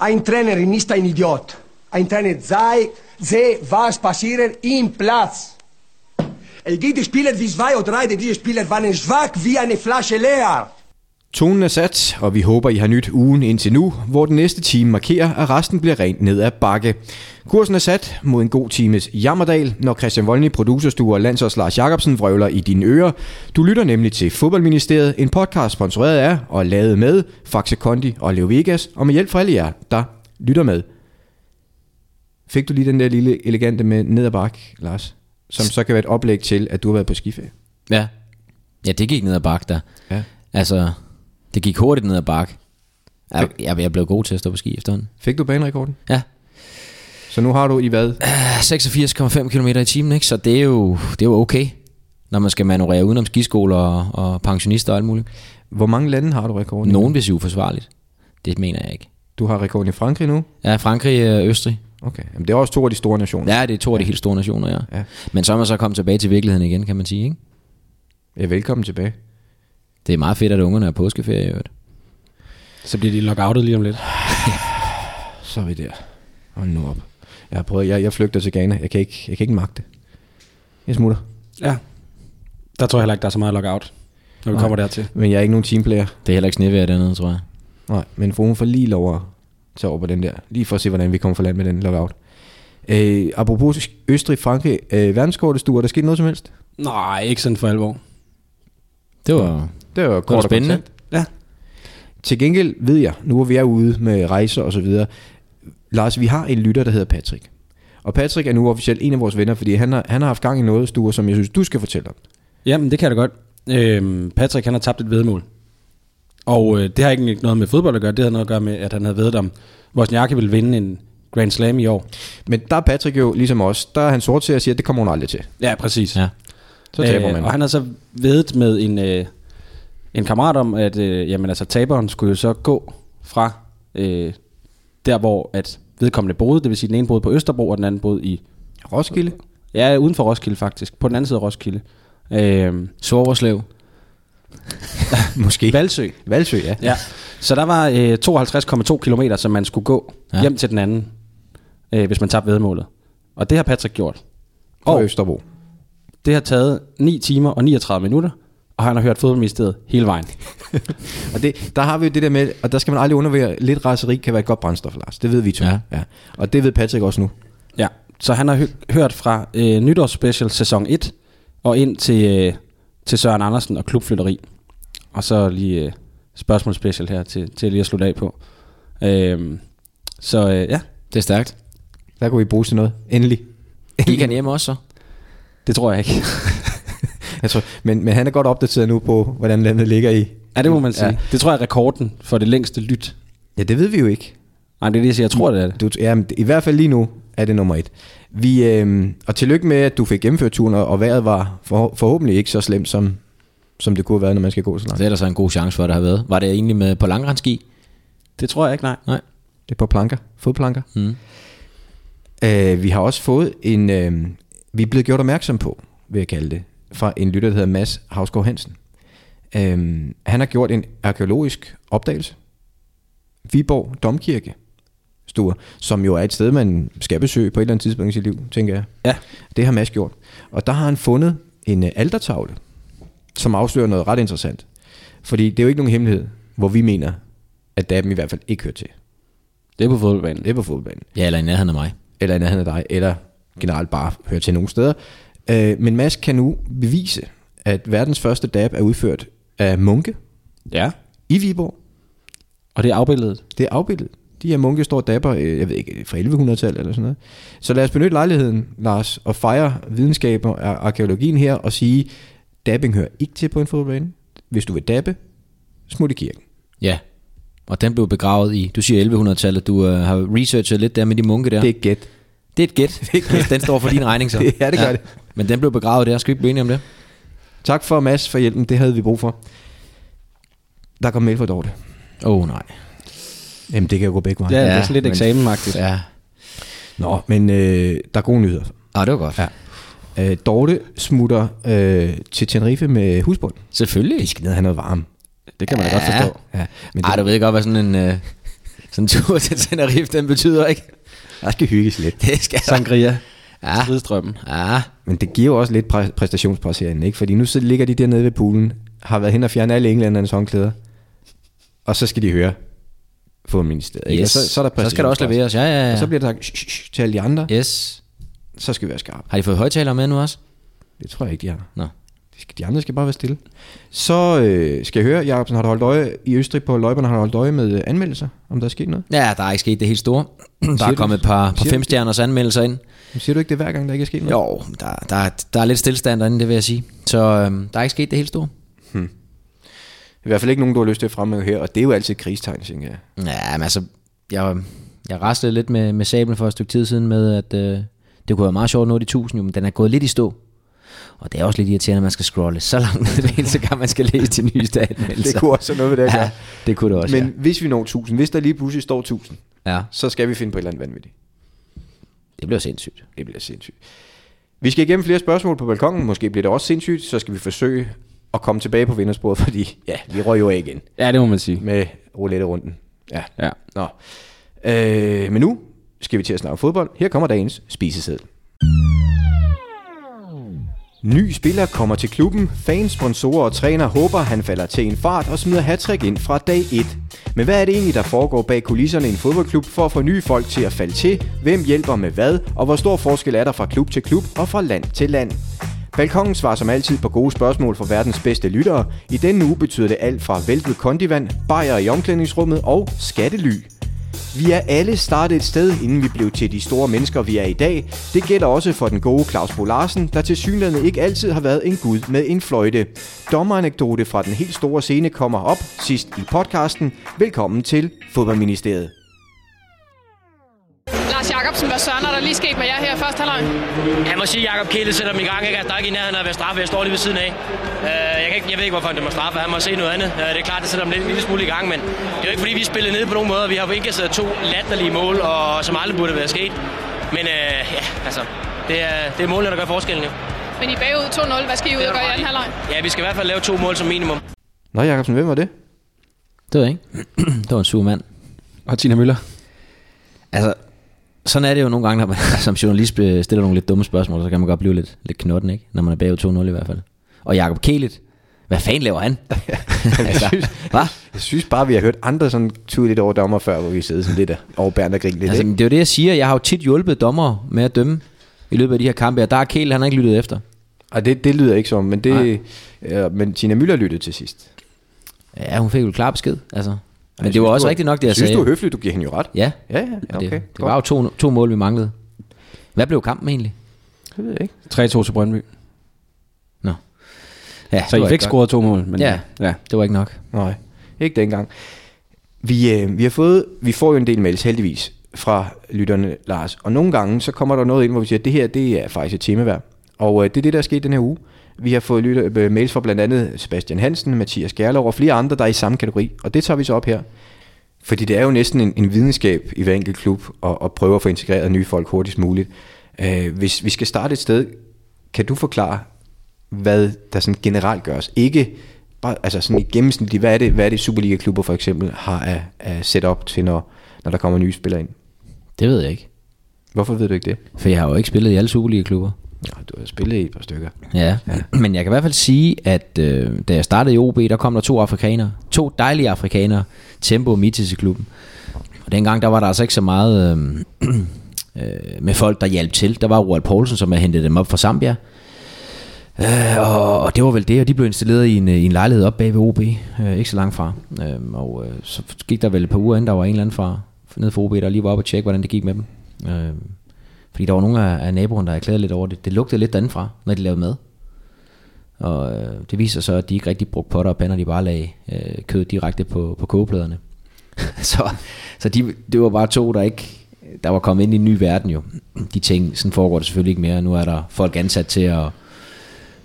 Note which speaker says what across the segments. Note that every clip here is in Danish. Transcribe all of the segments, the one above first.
Speaker 1: Ein Trainer ist ein Idiot. Ein Trainer sei, sehe, was passiert im Platz. Es gibt Spieler wie zwei oder drei, diese Spieler waren schwach wie eine Flasche leer.
Speaker 2: Tonen er sat, og vi håber, I har nyt ugen indtil nu, hvor den næste time markerer, at resten bliver rent ned ad bakke. Kursen er sat mod en god times jammerdal, når Christian Voldny, producerstue og landsholds Lars Jacobsen vrøvler i dine ører. Du lytter nemlig til Fodboldministeriet, en podcast sponsoreret af og lavet med Faxe Kondi og Leo Vegas, og med hjælp fra alle jer, der lytter med. Fik du lige den der lille elegante med ned ad bakke, Lars? Som så kan være et oplæg til, at du har været på skiferie.
Speaker 3: Ja. Ja, det gik ned ad bakke der.
Speaker 2: Ja.
Speaker 3: Altså, det gik hurtigt ned ad bakke. Jeg, jeg, jeg blev god til at stå på ski efterhånden.
Speaker 2: Fik du banerekorden?
Speaker 3: Ja.
Speaker 2: Så nu har du i hvad?
Speaker 3: Ah, 86,5 km i timen, ikke? Så det er, jo, det er jo okay, når man skal manøvrere udenom skiskoler og, og pensionister og alt muligt.
Speaker 2: Hvor mange lande har du rekorden i?
Speaker 3: Nogen vil sige uforsvarligt. Det mener jeg ikke.
Speaker 2: Du har rekorden i Frankrig nu?
Speaker 3: Ja, Frankrig og Østrig.
Speaker 2: Okay. Jamen, det er også to af de store nationer.
Speaker 3: Ja, det er to af de helt store nationer, ja.
Speaker 2: Ja.
Speaker 3: ja. Men så er man så kommet tilbage til virkeligheden igen, kan man sige, ikke?
Speaker 2: Ja, velkommen tilbage.
Speaker 3: Det er meget fedt, at ungerne er påskeferie i øvrigt.
Speaker 4: Så bliver de lockoutet lige om lidt.
Speaker 2: Så er vi der. Hold nu op. Jeg har prøvet, jeg, jeg flygter til Ghana. Jeg kan ikke, jeg kan ikke magte det. Jeg smutter.
Speaker 4: Ja. Der tror jeg heller ikke, der er så meget lockout, når vi
Speaker 2: Nej.
Speaker 4: kommer dertil.
Speaker 2: Men jeg er ikke nogen teamplayer.
Speaker 3: Det er heller ikke snevejr dernede, tror jeg.
Speaker 2: Nej, men for hun får lige lov at tage over på den der. Lige for at se, hvordan vi kommer for land med den lockout. Øh, apropos Østrig-Frankrig, øh, verdenskortestuer, er der sket noget som helst?
Speaker 4: Nej, ikke sådan for alvor.
Speaker 3: Det var...
Speaker 2: Det var kort og
Speaker 3: spændende.
Speaker 2: kontant.
Speaker 4: Ja.
Speaker 2: Til gengæld ved jeg, nu hvor vi er ude med rejser og så videre, Lars, vi har en lytter, der hedder Patrick. Og Patrick er nu officielt en af vores venner, fordi han har, han har haft gang i noget, Sture, som jeg synes, du skal fortælle om.
Speaker 4: Jamen, det kan jeg da godt. Øhm, Patrick, han har tabt et vedmål. Og øh, det har ikke noget med fodbold at gøre, det har noget at gøre med, at han havde vedet om, Wozniacki ville vinde en Grand Slam i år.
Speaker 2: Men der er Patrick jo, ligesom os, der er han sort til at sige, at det kommer hun aldrig til.
Speaker 4: Ja, præcis.
Speaker 3: Ja.
Speaker 2: Så taber
Speaker 4: øh,
Speaker 2: man.
Speaker 4: Og han har så vedet med en, øh, en kammerat om, at øh, jamen, altså, taberen skulle jo så gå fra øh, der, hvor at vedkommende boede, det vil sige, den ene boede på Østerbro, og den anden boede i
Speaker 2: Roskilde?
Speaker 4: Ja, uden for Roskilde faktisk. På den anden side af Roskilde. Øh,
Speaker 3: Svogerslev.
Speaker 2: Måske.
Speaker 4: Valsø.
Speaker 2: Valsø, ja.
Speaker 4: Ja. Så der var øh, 52,2 km, som man skulle gå
Speaker 3: Ja.
Speaker 4: ja. hjem til den anden, øh, hvis man tabte vedmålet. Og det har Patrick gjort.
Speaker 2: På
Speaker 4: Og-
Speaker 2: Østerbro.
Speaker 4: Det har taget 9 timer og 39 minutter, og han har hørt fodboldministeriet hele vejen.
Speaker 2: Og det, der har vi jo det der med, og der skal man aldrig undervære, lidt raseri kan være et godt brændstof, Lars. Det ved vi to.
Speaker 3: Ja.
Speaker 2: ja. Og det ved Patrick også nu.
Speaker 4: Ja. Så han har hø- hørt fra øh, nytårsspecial sæson 1 og ind til, øh, til Søren Andersen og klubflytteri. Og så lige øh, spørgsmålsspecial her til, til lige at slutte af på. Øh, så øh, ja,
Speaker 3: Det er stærkt.
Speaker 2: Der kunne vi bruge til noget. Endelig.
Speaker 3: Gik han hjem også så?
Speaker 4: det tror jeg ikke.
Speaker 2: Jeg tror, men, men han er godt opdateret nu på, hvordan landet ligger i.
Speaker 4: Ja, det må man sige.
Speaker 2: Ja.
Speaker 4: Ja. Det tror jeg er rekorden for det længste lyt.
Speaker 2: Ja, det ved vi jo ikke.
Speaker 4: Nej, det er det, jeg siger. Jeg tror, det er det.
Speaker 2: Du, ja, men I hvert fald lige nu er det nummer et. Vi, øh, og tillykke med, at du fik gennemført turen, og, og vejret var for, forhåbentlig ikke så slemt, som, som det kunne have været, når man skal gå så langt.
Speaker 3: Det er der så en god chance for, at der har været. Var det egentlig med på langrensski?
Speaker 4: Det tror jeg ikke, nej.
Speaker 3: Nej.
Speaker 2: Det er på planker, fodplanker.
Speaker 3: Mm.
Speaker 2: Øh, vi har også fået en, øh, vi er blevet gjort opmærksom på, vil jeg kalde det, fra en lytter, der hedder Mads Havsgaard Hansen. Øh, han har gjort en arkeologisk opdagelse. Viborg Domkirke, Sture, som jo er et sted, man skal besøge på et eller andet tidspunkt i sit liv, tænker jeg.
Speaker 4: Ja.
Speaker 2: Det har Mads gjort. Og der har han fundet en øh, altertavle, som afslører noget ret interessant. Fordi det er jo ikke nogen hemmelighed, hvor vi mener, at Daben i hvert fald ikke hører til.
Speaker 4: Det er på fodboldbanen.
Speaker 2: Det er på fodboldbanen
Speaker 3: Ja, eller i nærheden af mig.
Speaker 2: eller i nærheden af dig, eller generelt bare hører til nogle steder. Øh, men Mads kan nu bevise, at verdens første dab er udført af munke
Speaker 4: Ja.
Speaker 2: i Viborg.
Speaker 4: Og det er afbilledet.
Speaker 2: Det er afbildet. De her munke står og dabber, øh, jeg ved ikke, fra 1100-tallet eller sådan noget. Så lad os benytte lejligheden, Lars, og fejre videnskaber og arkeologien her og sige, dabbing hører ikke til på en fodboldbane. Hvis du vil dabbe, smut i kirken.
Speaker 3: Ja. Og den blev begravet i, du siger 1100-tallet, du øh, har researchet lidt der med de munke der.
Speaker 2: Ja. Det er et gæt.
Speaker 3: det er et gæt. den står for din regning så.
Speaker 2: Ja, det gør det.
Speaker 3: Men den blev begravet der, skal vi ikke blive enige om det?
Speaker 2: Tak for Mads for hjælpen, det havde vi brug for. Der kom mail fra Dorte.
Speaker 3: Åh oh, nej.
Speaker 2: Jamen, det kan jo gå begge veje.
Speaker 4: Ja, ja det er sådan lidt
Speaker 3: men-
Speaker 4: eksamenagtigt. Ja.
Speaker 3: Ja.
Speaker 2: Nå, men øh, der er gode nyheder.
Speaker 3: Ah, det var godt. Ja.
Speaker 2: Øh, Dorte smutter øh, til Tenerife med husbund.
Speaker 3: Selvfølgelig.
Speaker 2: skal ned og have noget varme.
Speaker 4: Det kan man da godt
Speaker 3: Ja.
Speaker 4: forstå.
Speaker 2: Ja, men
Speaker 3: Ej,
Speaker 2: det,
Speaker 3: du ved godt, hvad sådan en... Øh, Sådan en tur til Tenerife, den betyder ikke.
Speaker 2: Der skal hygges lidt.
Speaker 3: Det skal der.
Speaker 4: Sangria.
Speaker 3: Ja.
Speaker 4: Stridestrømmen.
Speaker 3: Ja,
Speaker 2: Men det giver jo også lidt præ- præstationspres herinde, ikke? Fordi nu så ligger de dernede ved poolen, har været hen og fjerne alle englændernes håndklæder, og så skal de høre få ministeriet. Ikke? Og
Speaker 3: yes.
Speaker 2: Så, så, er der
Speaker 3: så skal der også
Speaker 2: præstationspres.
Speaker 3: leveres. Ja, ja, ja.
Speaker 2: Og så bliver der sagt "Shh, shh, shh" til alle de andre,
Speaker 3: Yes.
Speaker 2: så skal vi være skarpe.
Speaker 3: Har de fået højtalere med nu også?
Speaker 2: Det tror jeg ikke, de har.
Speaker 3: Nå.
Speaker 2: De skal- De andre skal bare være stille. Så øh, skal jeg høre, Jacobsen, har du holdt øje i Østrig på løjberne, har du holdt øje med øh, anmeldelser, om der er sket noget?
Speaker 3: Ja, der er ikke sket det helt store. Der
Speaker 2: Siger
Speaker 3: er
Speaker 2: du-
Speaker 3: kommet et par, par
Speaker 2: siger du- Mm.
Speaker 3: femstjerners anmeldelser ind.
Speaker 2: Men Siger du ikke det hver gang, der ikke er sket noget?
Speaker 3: Jo, der, der, der er lidt stillestand derinde, det vil jeg sige. Så øhm, der er ikke sket det helt store.
Speaker 2: I hvert fald ikke nogen, du har lyst til at fremhæve her, og det er jo altid et krigstegn, tænker jeg.
Speaker 3: Ja, men altså, jeg, jeg raslede lidt med, med sablen for et stykke tid siden med, at øh, det kunne være meget sjovt at nå de 1000, jo, men den er gået lidt i stå. Og det er også lidt irriterende, at man skal scrolle så langt ned, hver eneste gang man skal læse de nyeste anmeldelser.
Speaker 2: Det kunne også være noget ved det, at
Speaker 3: ja,
Speaker 2: gøre.
Speaker 3: det kunne det også,
Speaker 2: Men hvis vi når 1000, hvis der lige pludselig står 1000,
Speaker 3: ja. ja.
Speaker 2: så skal vi finde på et eller andet vanvittigt.
Speaker 3: det bliver sindssygt.
Speaker 2: Det bliver sindssygt. Vi skal igennem flere spørgsmål på balkongen. Måske bliver det også sindssygt. Så skal vi forsøge at komme tilbage på vindersporet, fordi ja, vi røg jo af igen
Speaker 4: Ja, det må man sige.
Speaker 2: med roulette-runden. Ja.
Speaker 4: Ja.
Speaker 2: Nå. Øh, men nu skal vi til at snakke fodbold. Her kommer dagens spiseseddel. Ny spiller kommer til klubben. Fans, sponsorer og træner håber, han falder til en fart og smider hattrick ind fra dag 1. Men hvad er det egentlig, der foregår bag kulisserne i en fodboldklub for at få nye folk til at falde til? Hvem hjælper med hvad? Og hvor stor forskel er der fra klub til klub og fra land til land? Balkongen svarer som altid på gode spørgsmål fra verdens bedste lyttere. I denne uge betyder det alt fra væltet kondivand, bajer i omklædningsrummet og skattely. Vi er alle startet et sted, inden vi blev til de store mennesker, vi er i dag. Det gælder også for den gode Claus Bo Larsen, der til synligheden ikke altid har været en gud med en fløjte. Dommeranekdote fra den helt store scene kommer op sidst i podcasten. Velkommen til Fodboldministeriet.
Speaker 5: Lars Jacobsen, hvad søren er der lige sket med jer her i første halvleg?
Speaker 6: Jeg må sige, at Jacob Kjæle sætter mig i gang. Ikke? Altså, der er ikke i nærheden af at være straffe. Jeg står lige ved siden af. Øh, jeg, kan ikke, jeg ved ikke, hvorfor han dømmer straffe. Han må se noget andet. Øh, det er klart, det sætter ham lidt, en lille smule i gang, men det er jo ikke, fordi vi spillede ned på nogen måde. Vi har jo indkasseret to latterlige mål, og som aldrig burde være sket. Men øh, ja, altså, det er, det er målene, der gør forskellen. Jo.
Speaker 5: Men I er bagud 2-0. Hvad skal I ud
Speaker 6: Det er
Speaker 5: og
Speaker 6: du
Speaker 5: gøre i
Speaker 6: ret
Speaker 5: anden halvleg?
Speaker 6: Ja, vi skal i hvert fald lave to mål som minimum.
Speaker 2: Nå Jacobsen, hvem var det?
Speaker 3: Det ved jeg ikke. det var en sur mand.
Speaker 4: Og Tina Møller.
Speaker 3: Altså, sådan er det jo nogle gange, når man som journalist øh, stiller nogle lidt dumme spørgsmål, så kan man godt blive lidt, lidt knotten, ikke? Når man er bagud 2-0 i hvert fald. Og Jakob Kælet, hvad fanden laver han? altså, hva?
Speaker 2: Jeg synes bare, vi har hørt andre sådan tydeligt over dommer før, hvor vi sidder sådan lidt over bærende og griner lidt.
Speaker 3: Altså,
Speaker 2: Altså,
Speaker 3: men det er jo det, jeg siger. Jeg har jo tit hjulpet dommer med at dømme i løbet af de her kampe, og der er Kælet, han har ikke lyttet efter.
Speaker 2: og det, det lyder ikke som, men, det, øh, men Tina Møller lyttede til sidst.
Speaker 3: Ja, hun fik jo klar besked, altså. Men
Speaker 2: Jeg
Speaker 3: det var
Speaker 2: synes,
Speaker 3: også
Speaker 2: du er-
Speaker 3: rigtigt nok, det jeg
Speaker 2: synes,
Speaker 3: sagde.
Speaker 2: du er høflig, du giver hende jo ret.
Speaker 3: ja,
Speaker 2: Ja, ja,
Speaker 3: okay,
Speaker 2: okay.
Speaker 3: det, det var jo to, to mål, vi manglede. Hvad blev kampen egentlig?
Speaker 2: Det ved jeg ikke.
Speaker 4: 3-2 til Brøndby.
Speaker 3: Nå. Ja,
Speaker 4: Så
Speaker 3: det
Speaker 4: I
Speaker 3: var
Speaker 4: fik
Speaker 3: ikke godt.
Speaker 4: scoret to mål. Men
Speaker 3: Ja.
Speaker 4: ja.
Speaker 3: Det var ikke nok.
Speaker 2: Nej, ikke dengang. Vi, øh, vi, har fået, vi får jo en del mails, heldigvis, fra lytterne, Lars. Og nogle gange, så kommer der noget ind, hvor vi siger, at det her, det er faktisk et tema værd. Og øh, det er det, der er sket den her uge. Vi har fået lytter, øh, mails fra blandt andet Sebastian Hansen, Mathias Gerlov og flere andre, der er i samme kategori. Og det tager vi så op her. Fordi det er jo næsten en, en videnskab i hver enkelt klub at, at prøve at få integreret nye folk hurtigst muligt. Øh, hvis vi skal starte et sted, kan du forklare, hvad der sådan generelt gøres? Ikke bare, altså sådan i gennemsnit, hvad er det, hvad er det Superliga-klubber for eksempel har af, af setup til, når, når der kommer nye spillere ind?
Speaker 3: Det ved jeg ikke.
Speaker 2: Hvorfor ved du ikke det?
Speaker 3: For jeg har jo ikke spillet i alle Superliga-klubber.
Speaker 2: Ja, du har spillet i et par stykker.
Speaker 3: Ja. ja, men jeg kan i hvert fald sige, at øh, da jeg startede i OB, der kom der to afrikanere. To dejlige afrikanere. Tempo og Mitis i klubben. Og dengang, der var der altså ikke så meget øh, øh, med folk, der hjalp til. Der var Roald Poulsen, som havde hentet dem op fra Zambia. Øh, og, og det var vel det, og de blev installeret i en, øh, i en lejlighed op bag ved OB, øh, ikke så langt fra. Øh, og øh, så gik der vel et par uger inden, der var en eller anden fra, nede fra OB, der lige var oppe og tjekke, hvordan det gik med dem. Øh, fordi der var nogle af, af naboerne, der erklærede lidt over det. Det lugtede lidt danfra, når de lavede mad. Og øh, det viser så, at de ikke rigtig brugte potter og pander, de bare lagde øh, kød direkte på, på kogepladerne. så så de, det var bare to, der ikke der var kommet ind i en ny verden jo. De ting, sådan foregår det selvfølgelig ikke mere. Nu er der folk ansat til at,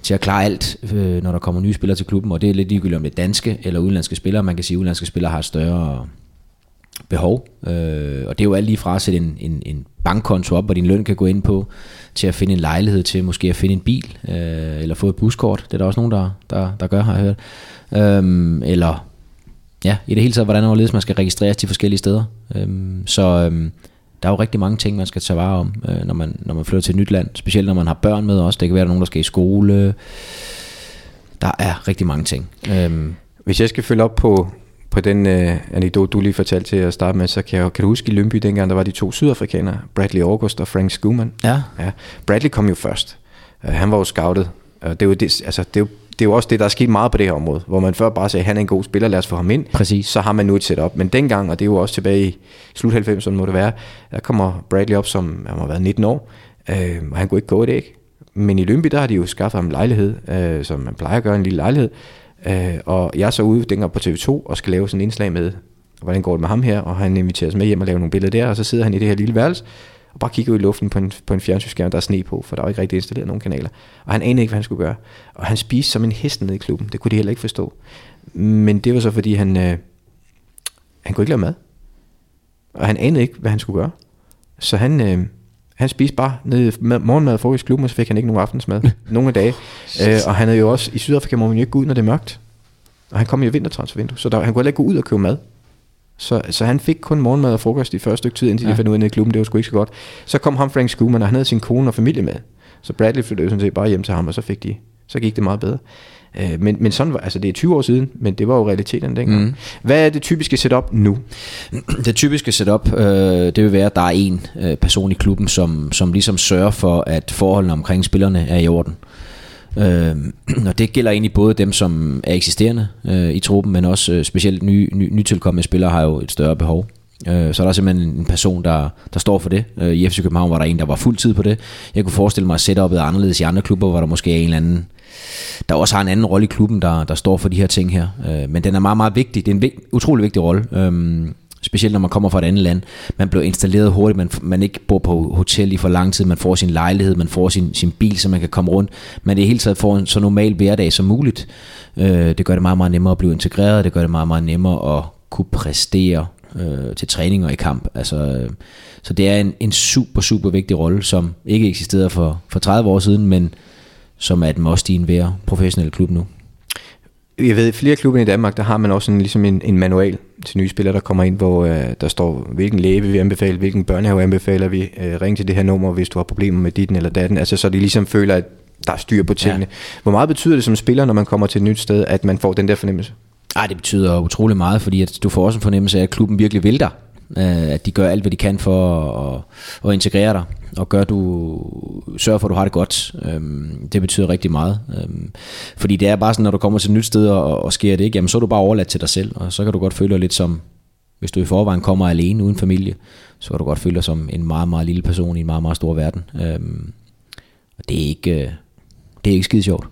Speaker 3: til at klare alt, øh, når der kommer nye spillere til klubben, og det er lidt ligegyldigt om det er danske eller udenlandske spillere. Man kan sige, at udenlandske spillere har et større behov, øh, og det er jo alt lige fra at sætte en, en, en bankkonto op, hvor din løn kan gå ind på, til at finde en lejlighed til, måske at finde en bil, øh, eller få et buskort, det er der også nogen, der, der, der gør, har jeg hørt, øhm, eller ja, i det hele taget, hvordan og hvorledes man skal registreres de forskellige steder. Øhm, så øhm, der er jo rigtig mange ting, man skal tage vare om, øh, når, man, når man flytter til et nyt land. Specielt når man har børn med også. Det kan være, at der er nogen, der skal i skole. Der er rigtig mange ting. Øhm,
Speaker 2: Hvis jeg skal følge op på, på den øh, anekdote, du lige fortalte til at starte med, så kan, jeg, kan du huske i Lønby dengang, der var de to sydafrikanere, Bradley August og Frank Schumann.
Speaker 3: ja,
Speaker 2: Ja. Bradley kom jo først. Uh, han var jo scoutet. Uh, det, er jo det, altså, det, er jo, det er jo også det, der er sket meget på det her område, hvor man før bare sagde, han er en god spiller, lad os få ham ind.
Speaker 3: Præcis.
Speaker 2: Så har man nu et setup. Men dengang, og det er jo også tilbage i slut 90'erne, må det være, der kommer Bradley op, som han må have været 19 år, uh, og han kunne ikke gå et æg. Men i Lønby, der har de jo skaffet ham en lejlighed, øh, som man plejer at gøre, en lille lejlighed. Øh, og jeg er så ude dengang på TV2 og skal lave sådan en indslag med, hvordan går det med ham her, og han inviterer os med hjem og laver nogle billeder der, og så sidder han i det her lille værelse, og bare kigger ud i luften på en, på en fjernsynsskærm, der er sne på, for der var ikke rigtig installeret nogen kanaler. Og han anede ikke, hvad han skulle gøre. Og han spiste som en hest nede i klubben, det kunne de heller ikke forstå. Men det var så, fordi han, øh, han kunne ikke lave mad. Og han anede ikke, hvad han skulle gøre. Så han, øh, han spiste bare nede med morgenmad og frokost i klubben, og så fik han ikke nogen aftensmad. nogle dage. Øh, og han havde jo også, i Sydafrika må man jo ikke gå ud, når det er mørkt. Og han kom i et vintertransfervindue, så der, han kunne heller ikke gå ud og købe mad. Så, så han fik kun morgenmad og frokost i første stykke tid, indtil ja. de fandt ud af nede i klubben, det var sgu ikke så godt. Så kom ham Frank Schumann, og han havde sin kone og familie med. Så Bradley flyttede jo sådan set bare hjem til ham, og så fik de så gik det meget bedre. Øh, men, men sådan var, altså det er 20 år siden, men det var jo realiteten dengang. Mm. Hvad er det typiske setup nu?
Speaker 3: det typiske setup, øh, det vil være, at der er en øh, person i klubben, som, som ligesom sørger for, at forholdene omkring spillerne er i orden. Øh, og det gælder egentlig både dem, som er eksisterende øh, i truppen, men også øh, specielt nye, ny, nytilkommende spillere har jo et større behov. Øh, så er der simpelthen en person, der, der står for det. Øh, I FC København var der en, der var fuldtid på det. Jeg kunne forestille mig, at setupet er anderledes i andre klubber, hvor der måske er en eller anden der også har en anden rolle i klubben, der, der står for de her ting her. Øh, men den er meget, meget vigtig. Det er en vig, utrolig vigtig rolle. Øhm, specielt når man kommer fra et andet land. Man bliver installeret hurtigt, man, f- man ikke bor på hotel i for lang tid, man får sin lejlighed, man får sin, sin bil, så man kan komme rundt. Man i det hele taget får en så normal hverdag som muligt. Øh, det gør det meget, meget nemmere at blive integreret, det gør det meget, meget nemmere at kunne præstere øh, til træning og i kamp. Altså, øh, så det er en, en super, super vigtig rolle, som ikke eksisterede for, for 30 år siden, men som er et must i enhver professionel klub nu.
Speaker 2: Jeg ved, i flere klubber i Danmark, der har man også en, ligesom en, en manual til nye spillere, der kommer ind, hvor øh, der står, hvilken læge vil vi anbefale, hvilken børnehave anbefaler vi, øh, ring til det her nummer, hvis du har problemer med ditten eller datten, altså så de ligesom føler, at der er styr på tingene. Ja. Hvor meget betyder det som spiller, når man kommer til et nyt sted, at man får den der fornemmelse?
Speaker 3: Ej, det betyder utrolig meget, fordi at du får også en fornemmelse af, at klubben virkelig vil dig. Øh, At de gør alt, hvad de kan for at, at integrere dig, og gør du, sørger for, at du har det godt. Øhm, Det betyder rigtig meget. Øhm, Fordi det er bare sådan, når du kommer til et nyt sted og, og sker det ikke, jamen så er du bare overladt til dig selv, og så kan du godt føle dig lidt som, hvis du i forvejen kommer alene uden familie, så kan du godt føle dig som en meget, meget lille person i en meget, meget stor verden. Øhm, Og det er ikke, øh, det er ikke skide sjovt.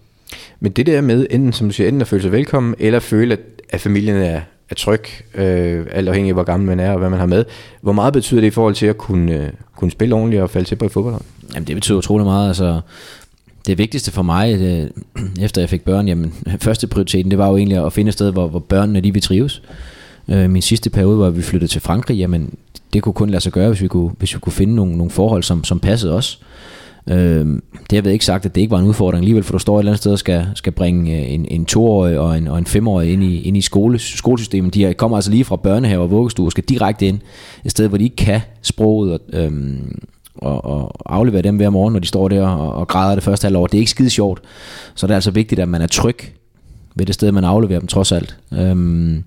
Speaker 2: Men det der med, enten som du siger, enten at føle sig velkommen, eller føle, at, at familien er, er tryg, øh, alt afhængig af, hvor gammel man er og hvad man har med. Hvor meget betyder det i forhold til at kunne, øh, kunne spille ordentligt og falde til på i fodbold?
Speaker 3: Jamen det betyder utrolig meget, altså det vigtigste for mig, det, efter jeg fik børn, jamen første prioriteten, det var jo egentlig at finde et sted, hvor, hvor børnene lige vil trives. Øh, min sidste periode, hvor vi flyttede til Frankrig, jamen det kunne kun lade sig gøre, hvis vi kunne, hvis vi kunne finde nogle, nogle forhold, som, som passede os. Øh, det har jeg ikke sagt, at det ikke var en udfordring alligevel, for du står et eller andet sted og skal, skal bringe øh, en, en toårig og en, og en femårig ind i, ind i skole, skolesystemet. De er- kommer altså lige fra børnehave og vuggestue og skal direkte ind et sted, hvor de ikke kan sproget og, øhm, og, og aflevere dem hver morgen, når de står der og, og græder det første halvår. Det er ikke skide sjovt. Så det er altså vigtigt, at man er tryg ved det sted, man afleverer dem trods alt. Øhm,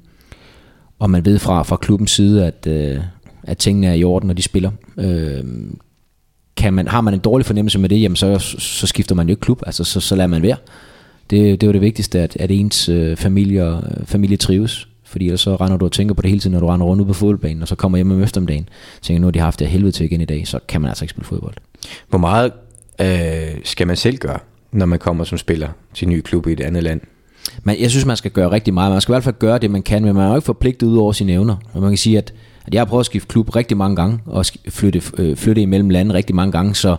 Speaker 3: og man ved fra, fra klubbens side, at, øh, at tingene er i orden, når de spiller. Øhm, kan man, har man en dårlig fornemmelse med det, jamen så, så skifter man jo ikke klub, altså så, så lader man være. Det, det er jo det vigtigste, at, at ens øh, familie, øh, familie trives, fordi ellers så render du og tænker på det hele tiden, når du render rundt ude på fodboldbanen, og så kommer hjem om eftermiddagen, tænker nu har de haft det af helvede til igen i dag, så kan man altså ikke spille fodbold.
Speaker 2: Hvor meget øh, skal man selv gøre, når man kommer som spiller til en ny klub i et andet land?
Speaker 3: Men jeg synes, man skal gøre rigtig meget. Man skal i hvert fald gøre det, man kan, men man er jo ikke forpligtet ud over sine evner. Og man kan sige, at, at jeg har prøvet at skifte klub rigtig mange gange, og sk- flytte, øh, flytte imellem lande rigtig mange gange, så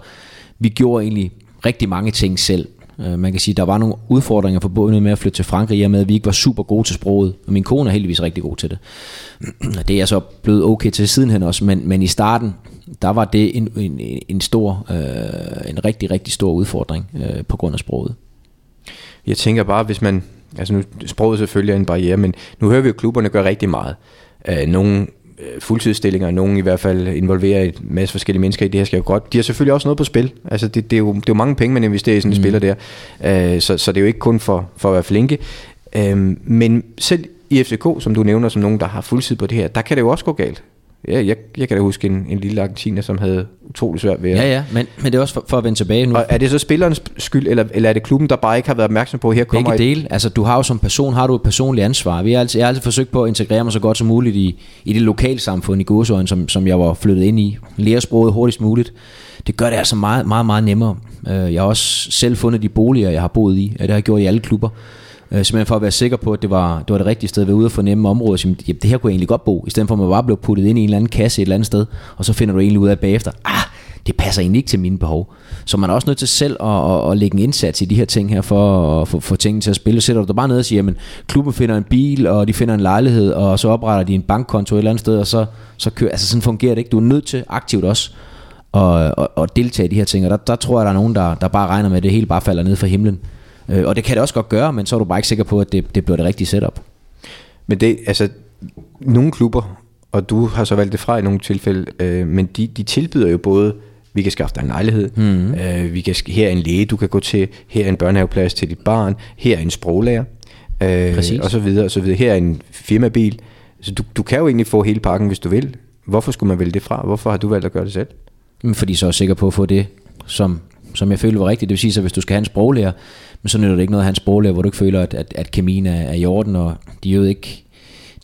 Speaker 3: vi gjorde egentlig rigtig mange ting selv. Øh, Man kan sige, at der var nogle udfordringer forbundet med at flytte til Frankrig, i og med at vi ikke var super gode til sproget. Og min kone er heldigvis rigtig god til det. Og Det er jeg så blevet okay til sidenhen også, men, men i starten, der var det en, en, en- en stor, øh, en rigtig, rigtig stor udfordring øh, på grund af sproget.
Speaker 2: Jeg tænker bare, hvis man Altså nu, sproget selvfølgelig er en barriere, men nu hører vi jo, at klubberne gør rigtig meget. Øh, nogle øh, fuldtidsstillinger, nogle i hvert fald involverer en masse forskellige mennesker i det her skal jo godt. De har selvfølgelig også noget på spil. Altså det, det, er, jo, det er jo mange penge, man investerer i sådan en mm. spiller der. Øh, så, så det er jo ikke kun for, for at være flinke. Øh, men selv i FCK, som du nævner som nogen, der har fuldtid på det her, der kan det jo også gå galt. Ja, jeg, jeg kan da huske en, en lille argentiner, som havde utrolig svært ved at,
Speaker 3: Ja, ja, men, men det er også for, for at vende tilbage nu.
Speaker 2: og er det så spillerens skyld, eller, eller er det klubben, der bare ikke har været opmærksom på, at her kommer
Speaker 3: Begge
Speaker 2: et,
Speaker 3: dele. Altså, du har jo som person har du et personligt ansvar. Vi har altid, jeg har altid forsøgt på at integrere mig så godt som muligt i, i det lokalsamfund i godsøjen, som, som jeg var flyttet ind i. Lære sproget hurtigst muligt. Det gør det altså meget, meget, meget nemmere. Øh, Jeg har også selv fundet de boliger, jeg har boet i. Øh, Det har jeg gjort i alle klubber. Øh, Simpelthen for at være sikker på, at det var det, var det rigtige sted at være ude og fornemme området. Jamen, jamen, det her kunne jeg egentlig godt bo, i stedet for at man bare blev puttet ind i en eller anden kasse et eller andet sted, og så finder du egentlig ud af bagefter, ah, det passer egentlig ikke til mine behov. Så man er også nødt til selv at, at, at lægge en indsats i de her ting her, for at få, få tingene til at spille. Så sætter du dig bare ned og siger, jamen klubben finder en bil, og de finder en lejlighed, og så opretter de en bankkonto et eller andet sted, og så, så kører, altså sådan fungerer det ikke. Du er nødt til aktivt også at, at, at deltage i de her ting, og der, der tror jeg, der er nogen, der, der bare regner med, at det hele bare falder ned fra himlen. Øh, Og det kan det også godt gøre, men så er du bare ikke sikker på, at det, det bliver det rigtige setup.
Speaker 2: Men det, altså, nogle klubber, og du har så valgt det fra i nogle tilfælde, øh, men de, de tilbyder jo både, vi kan skaffe dig en lejlighed, mm. øh, vi kan, sk- her er en læge, du kan gå til, her er en børnehaveplads til dit barn, her er en sproglærer, øh,
Speaker 3: Præcis.
Speaker 2: og så videre, og så videre. Her er en firmabil. Så du, du kan jo egentlig få hele pakken, hvis du vil. Hvorfor skulle man vælge det fra? Hvorfor har du valgt at gøre det selv?
Speaker 3: Mm, Fordi så er jeg sikker på at få det, som, som jeg føler var rigtigt. Det vil sige, at hvis du skal have en sproglærer, men så nytter det ikke noget at have en sproglærer, hvor du ikke føler, at, at, at kemien er, er i orden, og de jo ikke,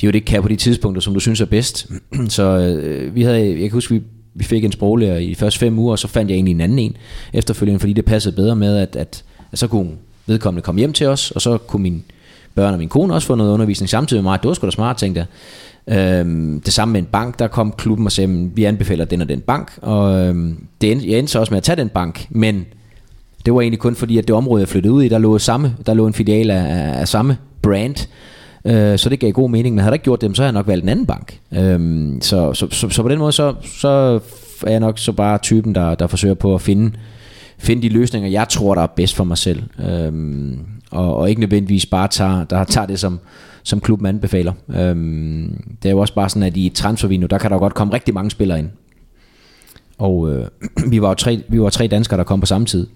Speaker 3: de jo ikke kan på de tidspunkter, som du synes er bedst. så øh, vi havde, jeg kan huske, vi, vi fik en sproglærer i de første fem uger, og så fandt jeg egentlig en anden en efterfølgende, fordi det passede bedre med, at, at, at så kunne vedkommende komme hjem til os, og så kunne min børn og min kone også få noget undervisning samtidig med mig. Det var sgu da smart, tænkte jeg. Øhm, det samme med en bank, der kom klubben og sagde, "Men vi anbefaler den og den bank, og øhm, det endte, jeg endte så også med at tage den bank, men det var egentlig kun fordi, at det område, jeg flyttede ud i, der lå, samme, der lå en filial af, af- af samme brand, øh, så det gav god mening, men havde jeg ikke gjort det, så havde jeg nok valgt en anden bank. Øhm, så, så, så, så på den måde, så, så er jeg nok så bare typen, der, der forsøger på at finde, finde de løsninger, jeg tror, der er bedst for mig selv. Øhm, og, og ikke nødvendigvis bare tager, der tager det, som, som klubben anbefaler. Øhm, det er jo også bare sådan, at i et transfervindue, der kan der jo godt komme rigtig mange spillere ind. Og øh, vi var jo tre, vi var tre danskere, der kom på samme tid.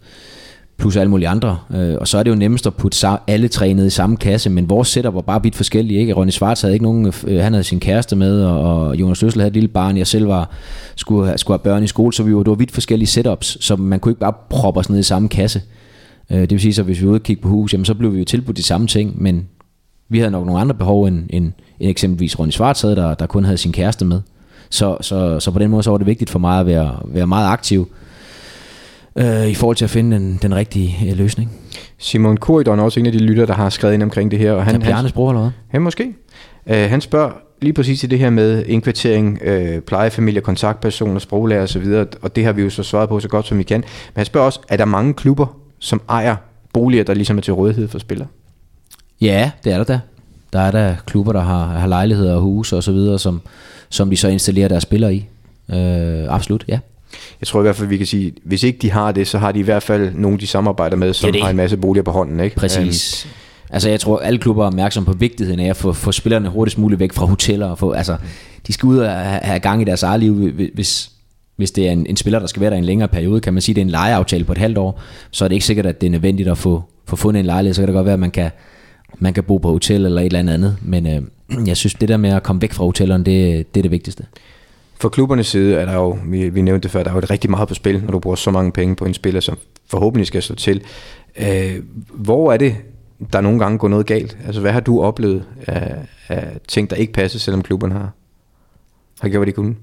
Speaker 3: Plus alle mulige andre. Øh, og så er det jo nemmest at putte sa- alle tre ned i samme kasse, men vores setup var bare vidt forskellige. Ikke? Ronny Svarts havde ikke nogen, øh, han havde sin kæreste med, og, og Jonas Løssel havde et lille barn. Jeg selv var, skulle, have- skulle have børn i skole, så vi var, det var vidt forskellige setups, så man kunne ikke bare proppe os ned i samme kasse. Øh, det vil sige, så hvis vi var ude og kigge på hus, jamen, så blev vi jo tilbudt de samme ting, men vi havde nok nogle andre behov, end, end, end eksempelvis Ronny Svarts havde, der, der kun havde sin kæreste med. Så, så, så på den måde så var det vigtigt for mig at være, være meget aktiv øh, i forhold til at finde den, den rigtige øh, løsning.
Speaker 2: Simon Korydon er også en af de lytter, der har skrevet ind omkring det her. Og han,
Speaker 3: Han, er
Speaker 2: han,
Speaker 3: Bjarnes bror eller hvad?
Speaker 2: Ja, måske. Uh, han spørger lige præcis til det her med indkvartering, uh, plejefamilier, kontaktpersoner, sproglærer osv., og det har vi jo så svaret på så godt som vi kan. Men han spørger også, er der mange klubber, som ejer boliger, der ligesom er til rådighed for spillere?
Speaker 3: Ja, det er der da. Der er der klubber, der har, har lejligheder og huse og så videre, som, som de så installerer deres spillere i. Øh, absolut, ja.
Speaker 2: Jeg tror i hvert fald, vi kan sige, hvis ikke de har det, så har de i hvert fald nogen, de samarbejder med, som
Speaker 3: Det er det.
Speaker 2: har en masse boliger på hånden. Ikke?
Speaker 3: Præcis. Øhm. Altså jeg tror, alle klubber er opmærksomme på vigtigheden af at få, få spillerne hurtigst muligt væk fra hoteller. Og få, altså, de skal ud og have, have gang i deres eget liv, hvi- hvis, hvis det er en, en spiller, der skal være der i en længere periode. Kan man sige, at det er en lejeaftale på et halvt år, så er det ikke sikkert, at det er nødvendigt at få, få fundet en lejlighed. Så kan det godt være, at man kan, man kan bo på hotel eller et eller andet andet. Men øh, jeg synes, det der med at komme væk fra hotellerne, det, det er det vigtigste.
Speaker 2: For klubbernes side er der jo, vi, vi nævnte det før, der er jo rigtig meget på spil, når du bruger så mange penge på en spiller, som forhåbentlig skal slå til. Øh, hvor er det, der nogle gange går noget galt? Altså hvad har du oplevet af, af ting, der ikke passer, selvom klubben har, har gjort, hvad de kunne?